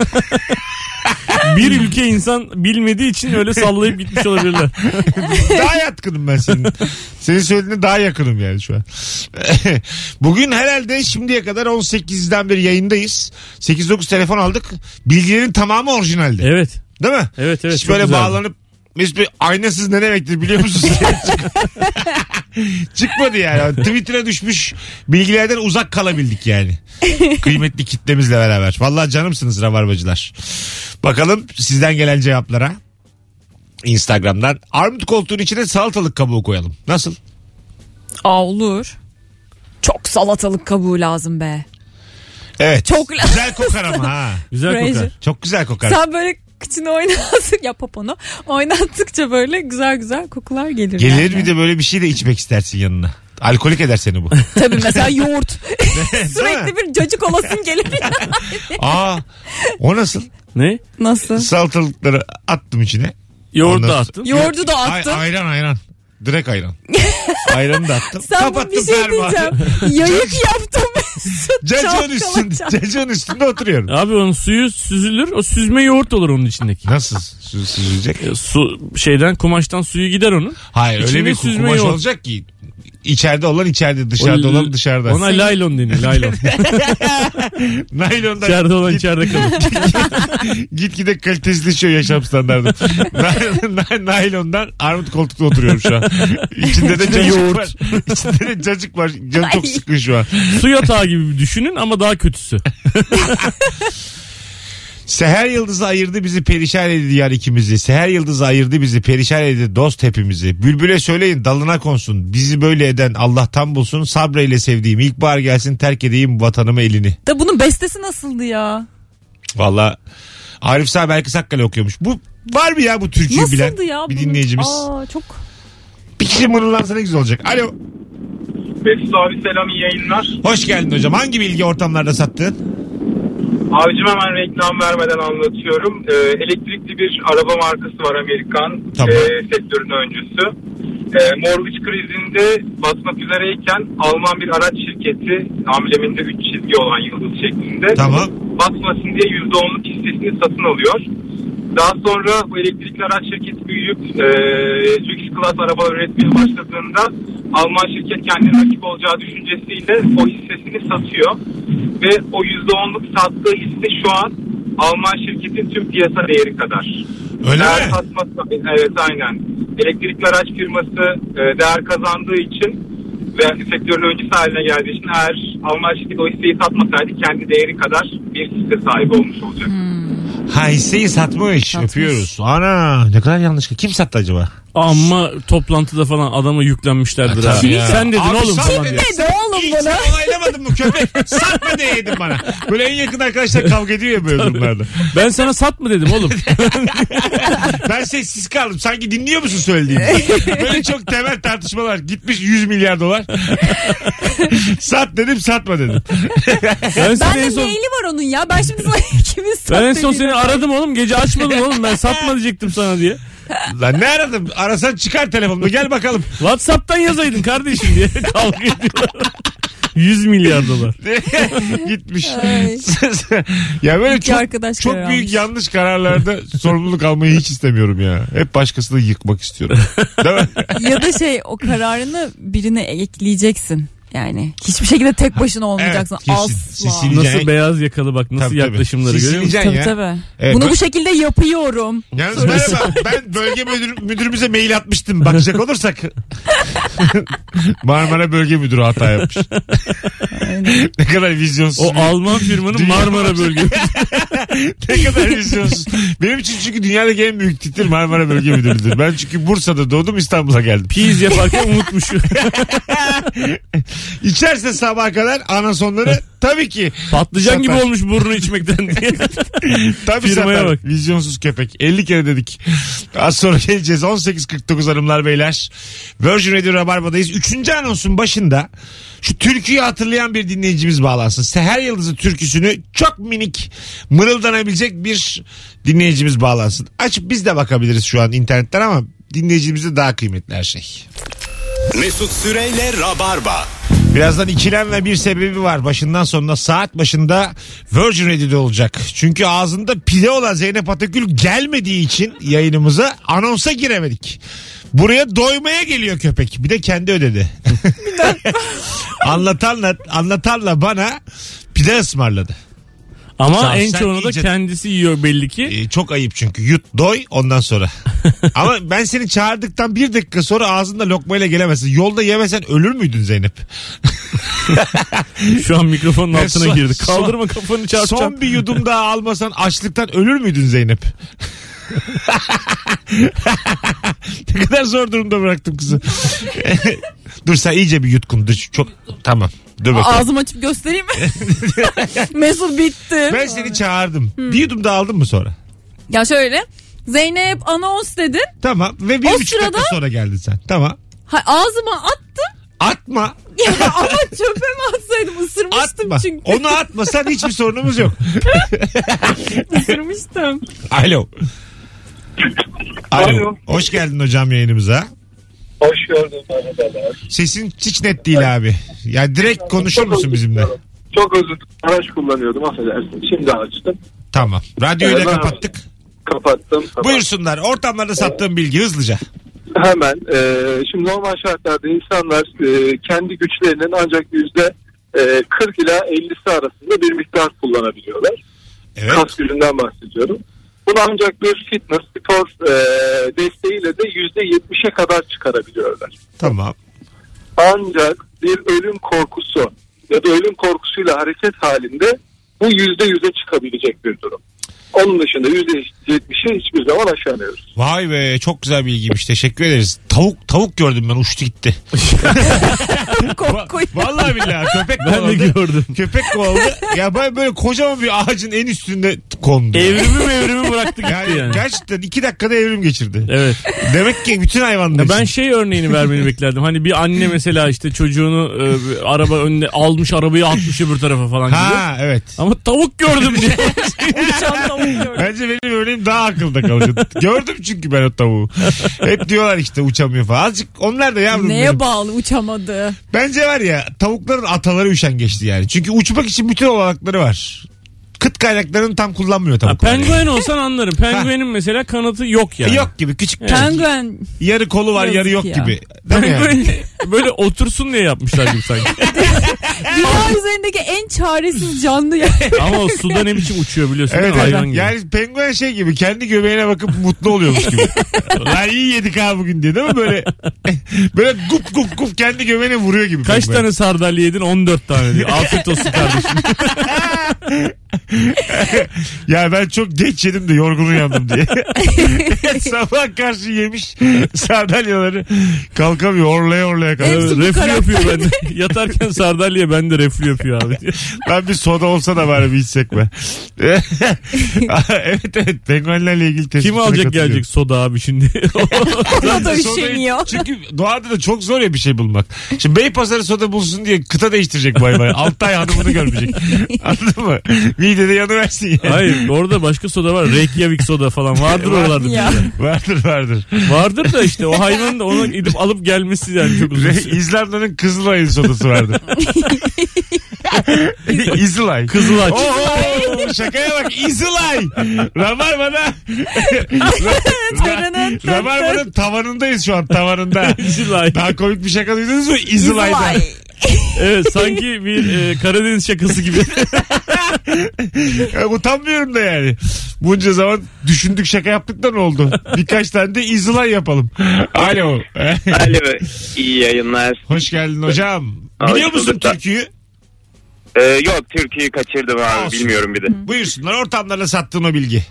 [SPEAKER 4] Bir ülke insan bilmediği için öyle sallayıp gitmiş olabilirler.
[SPEAKER 2] daha yatkınım ben senin. Senin söylediğine daha yakınım yani şu an. Bugün herhalde şimdiye kadar 18'den beri yayındayız. 8-9 telefon aldık. Bilgilerin tamamı orijinalde.
[SPEAKER 4] Evet.
[SPEAKER 2] Değil mi?
[SPEAKER 4] Evet evet.
[SPEAKER 2] Hiç
[SPEAKER 4] çok
[SPEAKER 2] böyle
[SPEAKER 4] güzeldi.
[SPEAKER 2] bağlanıp Mesut Bey aynasız ne demektir biliyor musunuz? Çıkmadı yani. Twitter'a düşmüş bilgilerden uzak kalabildik yani. Kıymetli kitlemizle beraber. Vallahi canımsınız rabarbacılar. Bakalım sizden gelen cevaplara. Instagram'dan. Armut koltuğun içine salatalık kabuğu koyalım. Nasıl?
[SPEAKER 3] Aa olur. Çok salatalık kabuğu lazım be.
[SPEAKER 2] Evet.
[SPEAKER 3] Çok
[SPEAKER 2] güzel kokar ama ha.
[SPEAKER 4] Güzel
[SPEAKER 3] Fraser.
[SPEAKER 4] kokar.
[SPEAKER 2] Çok güzel kokar.
[SPEAKER 3] Sen böyle kıçını oynattık ya poponu. Oynattıkça böyle güzel güzel kokular gelir.
[SPEAKER 2] Gelir
[SPEAKER 3] yani.
[SPEAKER 2] bir de böyle bir şey de içmek istersin yanına. Alkolik eder seni bu.
[SPEAKER 3] Tabii mesela yoğurt.
[SPEAKER 2] Değil mi?
[SPEAKER 3] Sürekli bir cacık olasın gelir.
[SPEAKER 2] Aa, o nasıl?
[SPEAKER 4] Ne?
[SPEAKER 3] Nasıl?
[SPEAKER 2] Salatalıkları attım içine.
[SPEAKER 4] Yoğurt
[SPEAKER 2] Ondan
[SPEAKER 4] da
[SPEAKER 2] sonra-
[SPEAKER 4] attın.
[SPEAKER 3] Yoğurdu da
[SPEAKER 2] Ay-
[SPEAKER 3] attın.
[SPEAKER 2] ayran ayran. Direkt ayran. Ayranı da attım.
[SPEAKER 3] Sen bu bir şey
[SPEAKER 2] fermuarı.
[SPEAKER 3] diyeceğim. Yayık yaptım Mesut.
[SPEAKER 2] Cacığın
[SPEAKER 3] Çalkala
[SPEAKER 2] üstünde,
[SPEAKER 3] çal-
[SPEAKER 2] cacığın üstünde oturuyorum.
[SPEAKER 4] Abi onun suyu süzülür. O süzme yoğurt olur onun içindeki.
[SPEAKER 2] Nasıl sü- süzülecek?
[SPEAKER 4] E, Su şeyden kumaştan suyu gider onun.
[SPEAKER 2] Hayır öyle
[SPEAKER 4] İçinde
[SPEAKER 2] bir
[SPEAKER 4] süzme
[SPEAKER 2] kumaş
[SPEAKER 4] yok.
[SPEAKER 2] olacak ki içeride olan içeride dışarıda
[SPEAKER 4] O-
[SPEAKER 2] olan dışarıda.
[SPEAKER 4] Ona laylon deniyor laylon.
[SPEAKER 2] Naylondan
[SPEAKER 4] içeride olan içeride kalır.
[SPEAKER 2] gitgide kalitesizleşiyor yaşam standartı. Na- na- Naylondan armut koltukta oturuyorum şu an. İçinde de cacık
[SPEAKER 4] yoğurt.
[SPEAKER 2] var. İçinde de cacık var. Canım çok
[SPEAKER 3] Ay.
[SPEAKER 2] sıkın şu an.
[SPEAKER 4] Su yatağı gibi düşünün ama daha kötüsü.
[SPEAKER 2] Seher Yıldız'ı ayırdı bizi perişan edildi yar ikimizi. Seher Yıldız'ı ayırdı bizi perişan edildi dost hepimizi. Bülbül'e söyleyin dalına konsun. Bizi böyle eden Allah'tan bulsun. Sabreyle sevdiğim ilkbahar gelsin terk edeyim vatanımı elini.
[SPEAKER 3] Da bunun bestesi nasıldı ya?
[SPEAKER 2] Valla Arif Sağ belki Sakkale okuyormuş. Bu var mı ya bu türküyü bilen
[SPEAKER 3] Nasıldı ya?
[SPEAKER 2] bir
[SPEAKER 3] bunun?
[SPEAKER 2] dinleyicimiz?
[SPEAKER 3] Aa, çok
[SPEAKER 2] Bir kişi mırıldansa ne güzel olacak. Alo
[SPEAKER 6] Mesut abi selam iyi yayınlar.
[SPEAKER 2] hoş geldin hocam. Hangi bilgi ortamlarda sattın?
[SPEAKER 6] Abicim hemen reklam vermeden anlatıyorum. Ee, elektrikli bir araba markası var Amerikan
[SPEAKER 2] Tamam.
[SPEAKER 6] e, sektörün öncüsü. E, mortgage krizinde batmak üzereyken Alman bir araç şirketi ambleminde 3 çizgi olan yıldız şeklinde
[SPEAKER 2] Tamam.
[SPEAKER 6] batmasın diye %10'luk hissesini satın alıyor. Daha sonra bu elektrikli araç şirketi büyüyüp e, lüks klas araba üretmeye başladığında Alman şirket kendine rakip olacağı düşüncesiyle o hissesini satıyor. Ve o %10'luk sattığı hisse şu an Alman şirketin tüm piyasa değeri kadar.
[SPEAKER 2] Öyle
[SPEAKER 6] değer
[SPEAKER 2] mi?
[SPEAKER 6] satması, evet aynen. Elektrikli araç firması e, değer kazandığı için ve sektörün öncüsü haline geldiği için eğer Alman şirketi o hisseyi satmasaydı kendi değeri kadar bir hisse sahibi olmuş olacak.
[SPEAKER 2] Ha hisseyi satmış.
[SPEAKER 3] Satmış.
[SPEAKER 2] Öpüyoruz. Ana ne kadar yanlış. Kim sattı acaba?
[SPEAKER 4] Ama toplantıda falan adama yüklenmişlerdir
[SPEAKER 2] Ha,
[SPEAKER 4] abi.
[SPEAKER 2] tabii ya.
[SPEAKER 4] Sen dedin
[SPEAKER 2] Abi
[SPEAKER 4] oğlum
[SPEAKER 2] sen
[SPEAKER 4] falan
[SPEAKER 2] dedin.
[SPEAKER 4] diye.
[SPEAKER 3] Ne de oğlum
[SPEAKER 2] Hiç
[SPEAKER 3] bunu?
[SPEAKER 2] sen onaylamadın mı köpek? Satma diye yedin bana. Böyle en yakın arkadaşlar kavga ediyor ya böyle durumlarda.
[SPEAKER 4] Ben sana sat mı dedim oğlum.
[SPEAKER 2] Ben sessiz kaldım. Sanki dinliyor musun söylediğimi? Böyle çok temel tartışmalar. Gitmiş 100 milyar dolar. Sat dedim satma dedim.
[SPEAKER 4] Ben, seni en
[SPEAKER 3] Bende
[SPEAKER 4] son,
[SPEAKER 3] maili var onun ya. Ben şimdi sana kimin
[SPEAKER 4] ben en son
[SPEAKER 3] sattığını-
[SPEAKER 4] seni aradım oğlum. Gece açmadın oğlum. Ben satma diyecektim sana diye.
[SPEAKER 2] Lan ne aradım? Arasan çıkar telefonunu gel bakalım.
[SPEAKER 4] Whatsapp'tan yazaydın kardeşim diye kavga ediyorlar. 100 milyar dolar.
[SPEAKER 2] Gitmiş.
[SPEAKER 3] Ay.
[SPEAKER 2] ya böyle
[SPEAKER 3] İki
[SPEAKER 2] çok,
[SPEAKER 3] arkadaş
[SPEAKER 2] çok
[SPEAKER 3] karar
[SPEAKER 2] büyük
[SPEAKER 3] almış.
[SPEAKER 2] yanlış kararlarda sorumluluk almayı hiç istemiyorum ya. Hep başkasını yıkmak istiyorum. Değil mi?
[SPEAKER 3] ya da şey o kararını birine ekleyeceksin. Yani hiçbir şekilde tek başına olmayacaksın.
[SPEAKER 2] kesin.
[SPEAKER 3] Asla.
[SPEAKER 2] Sesini-
[SPEAKER 4] Nasıl beyaz yakalı bak nasıl
[SPEAKER 2] Tabii, tabii.
[SPEAKER 4] yaklaşımları görüyor musun?
[SPEAKER 2] Sisleyeceksin
[SPEAKER 3] Tabii
[SPEAKER 2] ya.
[SPEAKER 3] tabii.
[SPEAKER 2] Evet,
[SPEAKER 3] Bunu
[SPEAKER 2] bak-
[SPEAKER 3] bu şekilde yapıyorum.
[SPEAKER 2] Yalnız merhaba ben bölge müdür, müdürümüze mail atmıştım bakacak olursak. Marmara Bölge Müdürü hata yapmış. ne kadar vizyonsuz.
[SPEAKER 4] O Alman firmanın
[SPEAKER 2] Dünya-
[SPEAKER 4] Marmara bölgesi.
[SPEAKER 2] ne kadar vizyonsuz. Benim için çünkü dünyadaki en büyük titir Marmara Bölge Müdürü'dür. Ben çünkü Bursa'da doğdum İstanbul'a geldim.
[SPEAKER 4] Piz yaparken unutmuş.
[SPEAKER 2] İçerse sabah kadar anasonları tabii ki.
[SPEAKER 4] Patlıcan gibi
[SPEAKER 2] Satar.
[SPEAKER 4] olmuş burnu içmekten diye.
[SPEAKER 2] Tabii
[SPEAKER 4] Firmaya
[SPEAKER 2] satar.
[SPEAKER 4] bak.
[SPEAKER 2] Vizyonsuz köpek. 50 kere dedik. Az sonra geleceğiz. 18.49 hanımlar beyler. Virgin Radio Rabarba'dayız. Üçüncü anonsun başında şu türküyü hatırlayan bir dinleyicimiz bağlansın. Seher Yıldız'ın türküsünü çok minik mırıldanabilecek bir dinleyicimiz bağlansın. Açıp biz de bakabiliriz şu an internetten ama dinleyicimize daha kıymetli her şey.
[SPEAKER 1] Mesut Süreyle Rabarba.
[SPEAKER 2] Birazdan ikilem ve bir sebebi var. Başından sonuna saat başında Virgin Radio'da olacak. Çünkü ağzında pide olan Zeynep Atakül gelmediği için yayınımıza anonsa giremedik. Buraya doymaya geliyor köpek. Bir de kendi ödedi. anlatanla, anlatanla bana pide ısmarladı. Sağ ol,
[SPEAKER 4] Ama en
[SPEAKER 2] sen
[SPEAKER 4] çoğunu da
[SPEAKER 2] iyice-
[SPEAKER 4] kendisi yiyor belli ki.
[SPEAKER 2] Ee, çok ayıp çünkü. Yut doy ondan sonra. Ama ben seni çağırdıktan bir dakika sonra ağzında lokmayla gelemezsin. Yolda yemesen ölür müydün Zeynep?
[SPEAKER 4] Şu an mikrofonun
[SPEAKER 2] Ve
[SPEAKER 4] altına
[SPEAKER 2] son-
[SPEAKER 4] girdi.
[SPEAKER 2] son-
[SPEAKER 4] Kaldırma kafanı çarpacağım.
[SPEAKER 2] Son bir yudum daha almasan açlıktan ölür müydün Zeynep? ne kadar zor durumda bıraktım kızı. dur sen iyice bir yutkun. Dur, çok tamam. Dur bakalım.
[SPEAKER 3] Ağzımı açıp göstereyim mi? Mesut bitti.
[SPEAKER 2] ben seni çağırdım. Bir yudum daha aldın mı sonra?
[SPEAKER 3] Ya şöyle Zeynep anons dedin.
[SPEAKER 2] Tamam ve bir
[SPEAKER 3] O
[SPEAKER 2] buçuk dakika
[SPEAKER 3] sırada-
[SPEAKER 2] sonra geldin sen. Tamam.
[SPEAKER 3] Ha, ağzıma attım.
[SPEAKER 2] Atma.
[SPEAKER 3] Ya ama çöpe mi atsaydım ısırmıştım
[SPEAKER 2] Atma.
[SPEAKER 3] çünkü.
[SPEAKER 2] Onu atmasan hiçbir sorunumuz yok.
[SPEAKER 3] Isırmıştım.
[SPEAKER 2] Alo. Alo.
[SPEAKER 5] Alo.
[SPEAKER 2] Hoş geldin hocam yayınımıza.
[SPEAKER 5] Hoş gördüm merhabalar.
[SPEAKER 2] Sesin hiç net değil abi. Ya direkt konuşur musun bizimle?
[SPEAKER 5] Çok özür dilerim. Araç kullanıyordum affedersin. Şimdi açtım.
[SPEAKER 2] Tamam. Radyoyu da
[SPEAKER 5] Evet,
[SPEAKER 2] kapattık.
[SPEAKER 5] Kapattım.
[SPEAKER 2] Buyursunlar. Ortamlarda sattığım bilgi hızlıca.
[SPEAKER 5] Hemen. e, şimdi normal şartlarda insanlar e, kendi güçlerinin ancak yüzde e, 40 ila 50'si arasında bir miktar kullanabiliyorlar.
[SPEAKER 2] Evet.
[SPEAKER 5] Kas gücünden bahsediyorum. Bunu ancak bir fitness, spor e, desteğiyle de yüzde 70'e kadar çıkarabiliyorlar.
[SPEAKER 2] Tamam.
[SPEAKER 5] Ancak bir ölüm korkusu ya da ölüm korkusuyla hareket halinde bu yüzde yüze çıkabilecek bir durum. Onun dışında yüzde %70'i hiçbir zaman aşamıyoruz.
[SPEAKER 2] Vay be çok güzel bilgiymiş. Teşekkür ederiz. Tavuk tavuk gördüm ben uçtu gitti.
[SPEAKER 3] Korkuyor.
[SPEAKER 2] Vallahi billahi köpek
[SPEAKER 4] Ben de
[SPEAKER 2] kovaladı.
[SPEAKER 4] gördüm.
[SPEAKER 2] Köpek kovaladı. Ya ben böyle kocaman bir ağacın en üstünde kondu.
[SPEAKER 4] Evrimi mevrimi bıraktı gitti
[SPEAKER 2] Yani,
[SPEAKER 4] yani.
[SPEAKER 2] gerçekten iki dakikada evrim geçirdi.
[SPEAKER 4] Evet.
[SPEAKER 2] Demek ki bütün hayvanlar
[SPEAKER 4] Ya ben
[SPEAKER 2] için.
[SPEAKER 4] şey örneğini vermeni beklerdim. Hani bir anne mesela işte çocuğunu e, bir araba önüne almış arabayı atmış öbür tarafa falan gibi.
[SPEAKER 2] Ha evet.
[SPEAKER 4] Ama tavuk gördüm diye.
[SPEAKER 3] Uçan tavuk gördüm.
[SPEAKER 2] Bence benim örneğim daha akılda kalıcı. Gördüm çünkü ben o tavuğu. Hep diyorlar işte uçamıyor falan. Azıcık onlar da yavrum benim.
[SPEAKER 3] Neye bağlı uçamadı?
[SPEAKER 2] Bence var ya tavukların ataları üşengeçti yani. Çünkü uçmak için bütün olanakları var. Kıt kaynaklarını tam kullanmıyor
[SPEAKER 4] Ha,
[SPEAKER 2] tavuklar. yani.
[SPEAKER 4] penguen olsan anlarım. Penguenin mesela kanatı yok yani.
[SPEAKER 2] Yok gibi küçük küçük.
[SPEAKER 3] Penguen
[SPEAKER 2] Yarı kolu var
[SPEAKER 3] Yazık
[SPEAKER 2] yarı yok
[SPEAKER 3] ya.
[SPEAKER 2] gibi. Değil mi yani?
[SPEAKER 4] Penguen böyle otursun diye yapmışlar gibi sanki.
[SPEAKER 3] dünya üzerindeki en çaresiz canlı ya.
[SPEAKER 4] Ama o suda ne biçim uçuyor biliyorsun
[SPEAKER 2] Evet,
[SPEAKER 4] değil mi?
[SPEAKER 2] evet.
[SPEAKER 4] hayvan gibi.
[SPEAKER 2] yani penguen şey gibi kendi göbeğine bakıp mutlu oluyormuş gibi. Lan iyi yedik ha bugün diye değil mi? Böyle böyle gup gup gup kendi göbeğine vuruyor gibi.
[SPEAKER 4] Kaç
[SPEAKER 2] penguen.
[SPEAKER 4] tane sardalya yedin? 14 tane diyor. Afiyet olsun kardeşim.
[SPEAKER 2] Ya ben çok geç yedim de yorgun uyandım diye. Sabah karşı yemiş sardalyaları kalkamıyor orlaya orlaya kalkamıyor.
[SPEAKER 3] Hepsi bu
[SPEAKER 4] reflü
[SPEAKER 3] karakter.
[SPEAKER 4] yapıyor bende. Yatarken sardalya bende reflü yapıyor abi.
[SPEAKER 2] Ben bir soda olsa da bari bir içsek be. evet evet penguenlerle ilgili
[SPEAKER 4] Kim
[SPEAKER 2] tespitine
[SPEAKER 4] alacak
[SPEAKER 2] katılıyorum.
[SPEAKER 4] gelecek soda abi şimdi?
[SPEAKER 3] Ona da şey
[SPEAKER 2] Sodayı-
[SPEAKER 3] üşeniyor.
[SPEAKER 2] Çünkü doğada da çok zor ya bir şey bulmak. Şimdi Beypazarı soda bulsun diye kıta değiştirecek bay bay. Altı ay hanımını görmeyecek. Anladın mı? Midede yanıversin yani.
[SPEAKER 4] Hayır orada başka soda var. Reykjavik soda falan vardır oralarda. bir
[SPEAKER 3] Ya.
[SPEAKER 4] yerde.
[SPEAKER 2] Vardır vardır.
[SPEAKER 4] Vardır da işte o hayvan da onu gidip alıp gelmesi yani çok uzun
[SPEAKER 2] Re-
[SPEAKER 4] süre.
[SPEAKER 2] İzlanda'nın Kızılay'ın sodası vardı. İzılay.
[SPEAKER 4] Kızılay.
[SPEAKER 2] Oho, şakaya bak İzılay. Rabarba'da
[SPEAKER 3] Tırının tır tır.
[SPEAKER 2] Rabarba'nın tavanındayız şu an tavanında.
[SPEAKER 4] İzilay.
[SPEAKER 2] Daha komik bir şaka duydunuz mu? İzılay'da.
[SPEAKER 3] İzlay.
[SPEAKER 4] Evet sanki bir e, Karadeniz şakası gibi.
[SPEAKER 2] Ya, utanmıyorum da yani. Bunca zaman düşündük şaka yaptık da ne oldu? Birkaç tane de İzılay yapalım. Alo.
[SPEAKER 12] Alo iyi yayınlar.
[SPEAKER 2] Hoş geldin hocam.
[SPEAKER 12] Hoş
[SPEAKER 2] Biliyor musun
[SPEAKER 12] bulduk da.
[SPEAKER 2] türküyü?
[SPEAKER 12] Ee, yok Türkiye'yi kaçırdım abi
[SPEAKER 2] Olsun.
[SPEAKER 12] bilmiyorum bir de.
[SPEAKER 2] Buyursunlar ortamlarına sattığın o bilgi.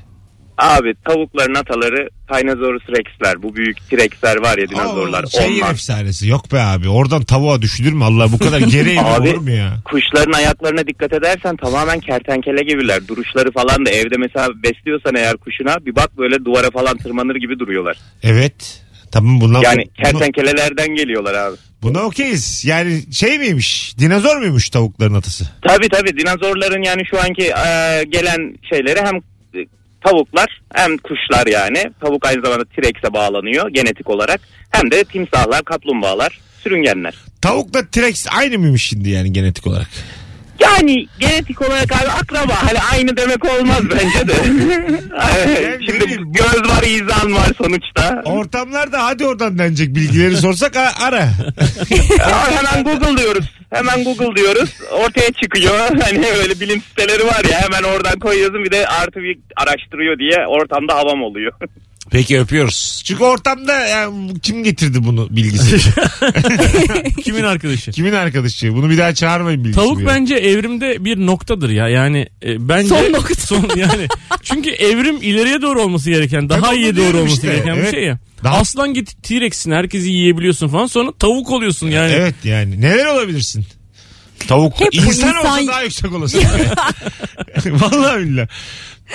[SPEAKER 12] Abi tavukların ataları Tyrannosaurus Rex'ler. Bu büyük T-Rex'ler var ya dinozorlar.
[SPEAKER 2] Aa, şey Şehir
[SPEAKER 12] onlar.
[SPEAKER 2] efsanesi yok be abi. Oradan tavuğa düşünür mü Allah? Bu kadar gereği mi
[SPEAKER 12] Abi.
[SPEAKER 2] olur mu ya?
[SPEAKER 12] Kuşların ayaklarına dikkat edersen tamamen kertenkele gibiler. Duruşları falan da evde mesela besliyorsan eğer kuşuna bir bak böyle duvara falan tırmanır gibi duruyorlar.
[SPEAKER 2] Evet. Tamam bundan
[SPEAKER 12] Yani
[SPEAKER 2] buna,
[SPEAKER 12] kertenkelelerden geliyorlar abi.
[SPEAKER 2] buna okeyiz. Yani şey miymiş? Dinozor muymuş tavukların atası?
[SPEAKER 12] Tabi tabi dinozorların yani şu anki e, gelen şeyleri hem e, tavuklar hem kuşlar yani. Tavuk aynı zamanda T-Rex'e bağlanıyor genetik olarak. Hem de timsahlar, kaplumbağalar, sürüngenler.
[SPEAKER 2] Tavukla T-Rex aynı mıymış şimdi yani genetik olarak?
[SPEAKER 12] Yani genetik olarak abi akraba hani aynı demek olmaz bence de. Evet, Şimdi göz var izan var sonuçta.
[SPEAKER 2] Ortamlarda hadi oradan denecek bilgileri sorsak a- ara.
[SPEAKER 12] Aa, hemen Google diyoruz. Hemen Google diyoruz. Ortaya çıkıyor. Hani öyle bilim siteleri var ya hemen oradan koyuyorsun bir de artı bir araştırıyor diye ortamda havam oluyor.
[SPEAKER 2] Peki öpüyoruz. Çünkü ortamda yani kim getirdi bunu bilgisi?
[SPEAKER 4] Kimin arkadaşı?
[SPEAKER 2] Kimin arkadaşı? Bunu bir daha çağırmayın bilgisi.
[SPEAKER 4] Tavuk
[SPEAKER 2] bu ya.
[SPEAKER 4] bence evrimde bir noktadır ya. Yani e, bence
[SPEAKER 3] Son nokta.
[SPEAKER 4] son yani çünkü evrim ileriye doğru olması gereken, daha
[SPEAKER 2] Tabii, onu
[SPEAKER 4] iyiye
[SPEAKER 2] diyorum
[SPEAKER 4] doğru olması
[SPEAKER 2] işte.
[SPEAKER 4] gereken
[SPEAKER 2] Evet.
[SPEAKER 4] bir şey ya.
[SPEAKER 2] Daha-
[SPEAKER 4] Aslan git T-Rex'in herkesi yiyebiliyorsun falan sonra tavuk oluyorsun yani.
[SPEAKER 2] Evet yani. Neler olabilirsin? Tavuk.
[SPEAKER 3] Hep bu
[SPEAKER 2] insan, olsa
[SPEAKER 3] insan-
[SPEAKER 2] daha yüksek olasın. Vallahi billahi.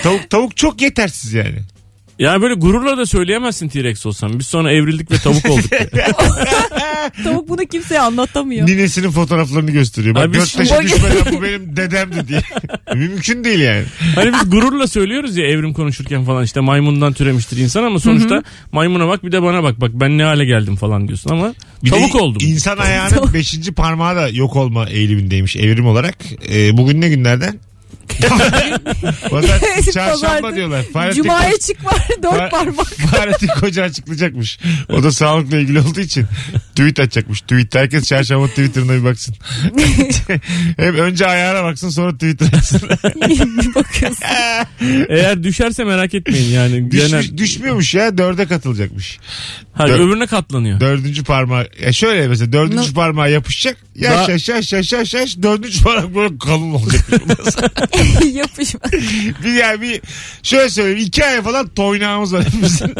[SPEAKER 2] Tavuk, tavuk çok yetersiz yani.
[SPEAKER 4] Yani böyle gururla da söyleyemezsin T-Rex olsan. Biz sonra evrildik ve tavuk olduk.
[SPEAKER 3] Tavuk bunu kimseye anlatamıyor.
[SPEAKER 2] Ninesinin fotoğraflarını gösteriyor. Bak
[SPEAKER 4] Abi biz
[SPEAKER 2] dört taşı
[SPEAKER 3] şimdi-
[SPEAKER 2] düşmeden bu benim dedemdi diye. Mümkün değil yani.
[SPEAKER 4] hani biz gururla söylüyoruz ya evrim konuşurken falan işte maymundan türemiştir insan ama sonuçta maymuna bak bir de bana bak bak ben ne hale geldim falan diyorsun ama
[SPEAKER 2] Bir de
[SPEAKER 4] tavuk oldum.
[SPEAKER 2] İnsan ayağının beşinci parmağı da yok olma eğilimindeymiş evrim olarak. Ee, bugün ne günlerden? Pazartesi, çarşamba
[SPEAKER 3] Pazartesi.
[SPEAKER 2] diyorlar. Fahrettin
[SPEAKER 3] Cuma'ya çık var
[SPEAKER 2] Fa-
[SPEAKER 3] dört parmak.
[SPEAKER 2] Fahrettin Koca açıklayacakmış. O da sağlıkla ilgili olduğu için tweet atacakmış. Tweet herkes çarşamba Twitter'ına bir baksın. Hem önce ayağına baksın sonra Twitter'a baksın.
[SPEAKER 3] bir bakıyorsun.
[SPEAKER 4] Eğer düşerse merak etmeyin yani.
[SPEAKER 2] Düşmüş,
[SPEAKER 4] Genel,
[SPEAKER 2] düşmüyormuş ya dörde katılacakmış.
[SPEAKER 4] ha,
[SPEAKER 2] Dö-
[SPEAKER 4] öbürüne katlanıyor.
[SPEAKER 2] Dördüncü parmağı. Ya şöyle mesela dördüncü parmağa yapışacak. Yaş
[SPEAKER 4] Daha-
[SPEAKER 2] yaş yaş yaş yaş yaş. Dördüncü parmak böyle kalın olacak.
[SPEAKER 3] Yapışma.
[SPEAKER 2] bir yani bir şöyle söyleyeyim. iki ay falan toynağımız var hepimizin.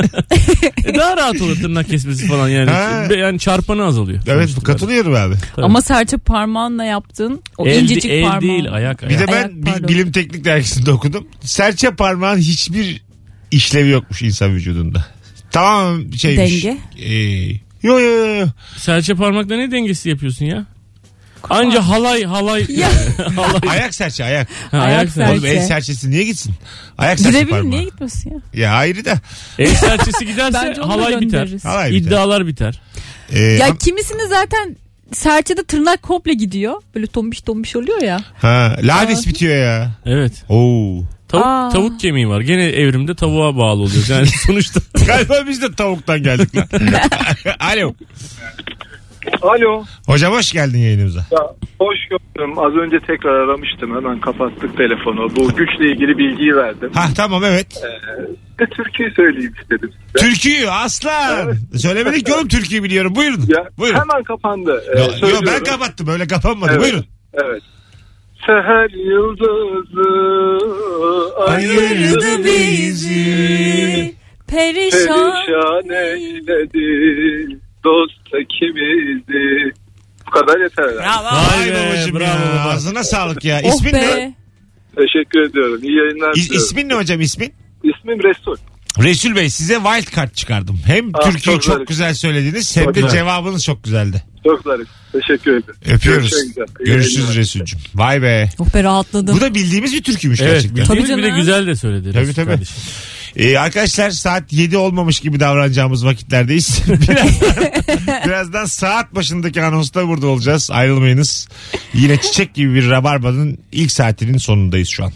[SPEAKER 4] E, daha rahat olur tırnak kesmesi falan yani.
[SPEAKER 2] Ha.
[SPEAKER 4] Be- yani çarpanı azalıyor.
[SPEAKER 2] evet
[SPEAKER 4] Sonuçta
[SPEAKER 2] katılıyorum abi.
[SPEAKER 4] Tabii.
[SPEAKER 3] Ama serçe parmağınla yaptığın o
[SPEAKER 4] böyle. El,
[SPEAKER 3] incecik
[SPEAKER 4] el
[SPEAKER 3] parmağın.
[SPEAKER 4] değil ayak.
[SPEAKER 2] Bir
[SPEAKER 4] ayak.
[SPEAKER 2] de
[SPEAKER 3] Ayak,
[SPEAKER 2] ben bi-
[SPEAKER 3] pardon.
[SPEAKER 2] bilim teknik dergisinde okudum. Serçe parmağın hiçbir işlevi yokmuş insan vücudunda. Tamam şeymiş.
[SPEAKER 3] Denge.
[SPEAKER 2] Ee, yo yo yo. yo.
[SPEAKER 4] Serçe parmakla ne dengesi yapıyorsun ya? Anca halay halay.
[SPEAKER 3] Ya.
[SPEAKER 4] halay.
[SPEAKER 2] Ayak serçe ayak.
[SPEAKER 4] Ha,
[SPEAKER 3] Ayak
[SPEAKER 4] ayak serçe.
[SPEAKER 2] Oğlum el
[SPEAKER 3] Serçe.
[SPEAKER 2] serçesi niye gitsin? Ayak serçe
[SPEAKER 3] Gidebilir
[SPEAKER 2] parmağı.
[SPEAKER 3] niye gitmesin ya?
[SPEAKER 2] Ya ayrı da.
[SPEAKER 4] El serçesi giderse
[SPEAKER 3] Bence onu da
[SPEAKER 4] halay biter.
[SPEAKER 3] göndeririz.
[SPEAKER 2] Halay biter.
[SPEAKER 4] İddialar biter.
[SPEAKER 2] Ee,
[SPEAKER 3] Ya
[SPEAKER 2] am-
[SPEAKER 3] kimisini zaten serçede tırnak komple gidiyor. Böyle tombiş tombiş oluyor ya.
[SPEAKER 2] ha, lades bitiyor ya.
[SPEAKER 4] Evet.
[SPEAKER 2] Oo.
[SPEAKER 4] Tavuk,
[SPEAKER 3] Aa.
[SPEAKER 4] tavuk kemiği var. Gene evrimde tavuğa bağlı oluyoruz. Yani sonuçta
[SPEAKER 2] Galiba biz de tavuktan geldik lan. Alo.
[SPEAKER 13] Alo.
[SPEAKER 2] Hocam hoş geldin yayınımıza.
[SPEAKER 13] Ya, hoş gördüm. Az önce tekrar aramıştım. Hemen kapattık telefonu. Bu güçle ilgili bilgiyi verdim.
[SPEAKER 2] Ha tamam evet.
[SPEAKER 13] Bir de türküyü söyleyeyim istedim size.
[SPEAKER 2] Türküyü aslan. Söylemedik ki oğlum türküyü biliyorum. Buyurun.
[SPEAKER 13] Ya,
[SPEAKER 2] Buyurun.
[SPEAKER 13] Hemen kapandı. Ee,
[SPEAKER 2] Yo, yo,
[SPEAKER 13] söylüyorum.
[SPEAKER 2] ben kapattım öyle kapanmadı.
[SPEAKER 13] Evet.
[SPEAKER 2] Buyurun.
[SPEAKER 13] Evet. Seher yıldızı ayırdı
[SPEAKER 2] Ayırdı bizi. şey.
[SPEAKER 13] perişan
[SPEAKER 3] Perişan
[SPEAKER 13] eyledi dost ikimizi. Bu kadar yeter. herhalde.
[SPEAKER 2] Vay
[SPEAKER 4] Vay be,
[SPEAKER 2] babacım
[SPEAKER 4] bravo
[SPEAKER 2] ya.
[SPEAKER 4] baba.
[SPEAKER 2] Ağzına sağlık ya.
[SPEAKER 3] Oh
[SPEAKER 2] İsmin ne?
[SPEAKER 3] be.
[SPEAKER 13] Teşekkür ediyorum. İyi yayınlar
[SPEAKER 2] İ-
[SPEAKER 13] diliyorum.
[SPEAKER 2] ismin ne hocam ismin?
[SPEAKER 13] İsmim Resul.
[SPEAKER 2] Resul Bey size wild card çıkardım. Hem
[SPEAKER 13] Ah,
[SPEAKER 2] türküyü çok,
[SPEAKER 13] çok güzel.
[SPEAKER 2] güzel söylediniz hem
[SPEAKER 13] Çok
[SPEAKER 2] de
[SPEAKER 13] güzel.
[SPEAKER 2] cevabınız çok güzeldi.
[SPEAKER 13] Çok zarif. Teşekkür ederim.
[SPEAKER 2] Öpüyoruz.
[SPEAKER 13] Görüşmek üzere. İyi
[SPEAKER 2] Görüşürüz
[SPEAKER 13] yayınlar.
[SPEAKER 2] Resul'cüm. Vay be.
[SPEAKER 3] Oh be rahatladım.
[SPEAKER 2] Bu da bildiğimiz bir türküymüş
[SPEAKER 4] evet
[SPEAKER 2] gerçekten.
[SPEAKER 4] bildiğimiz
[SPEAKER 3] Tabii
[SPEAKER 4] bir de
[SPEAKER 3] canım.
[SPEAKER 4] güzel de söyledi.
[SPEAKER 2] Tabii,
[SPEAKER 4] Resul
[SPEAKER 2] tabii.
[SPEAKER 4] kardeşim.
[SPEAKER 2] Ee, arkadaşlar saat 7 olmamış gibi davranacağımız vakitlerdeyiz. birazdan, birazdan saat başındaki anonsta burada olacağız. Ayrılmayınız. Yine çiçek gibi bir rabarbanın ilk saatinin sonundayız şu an.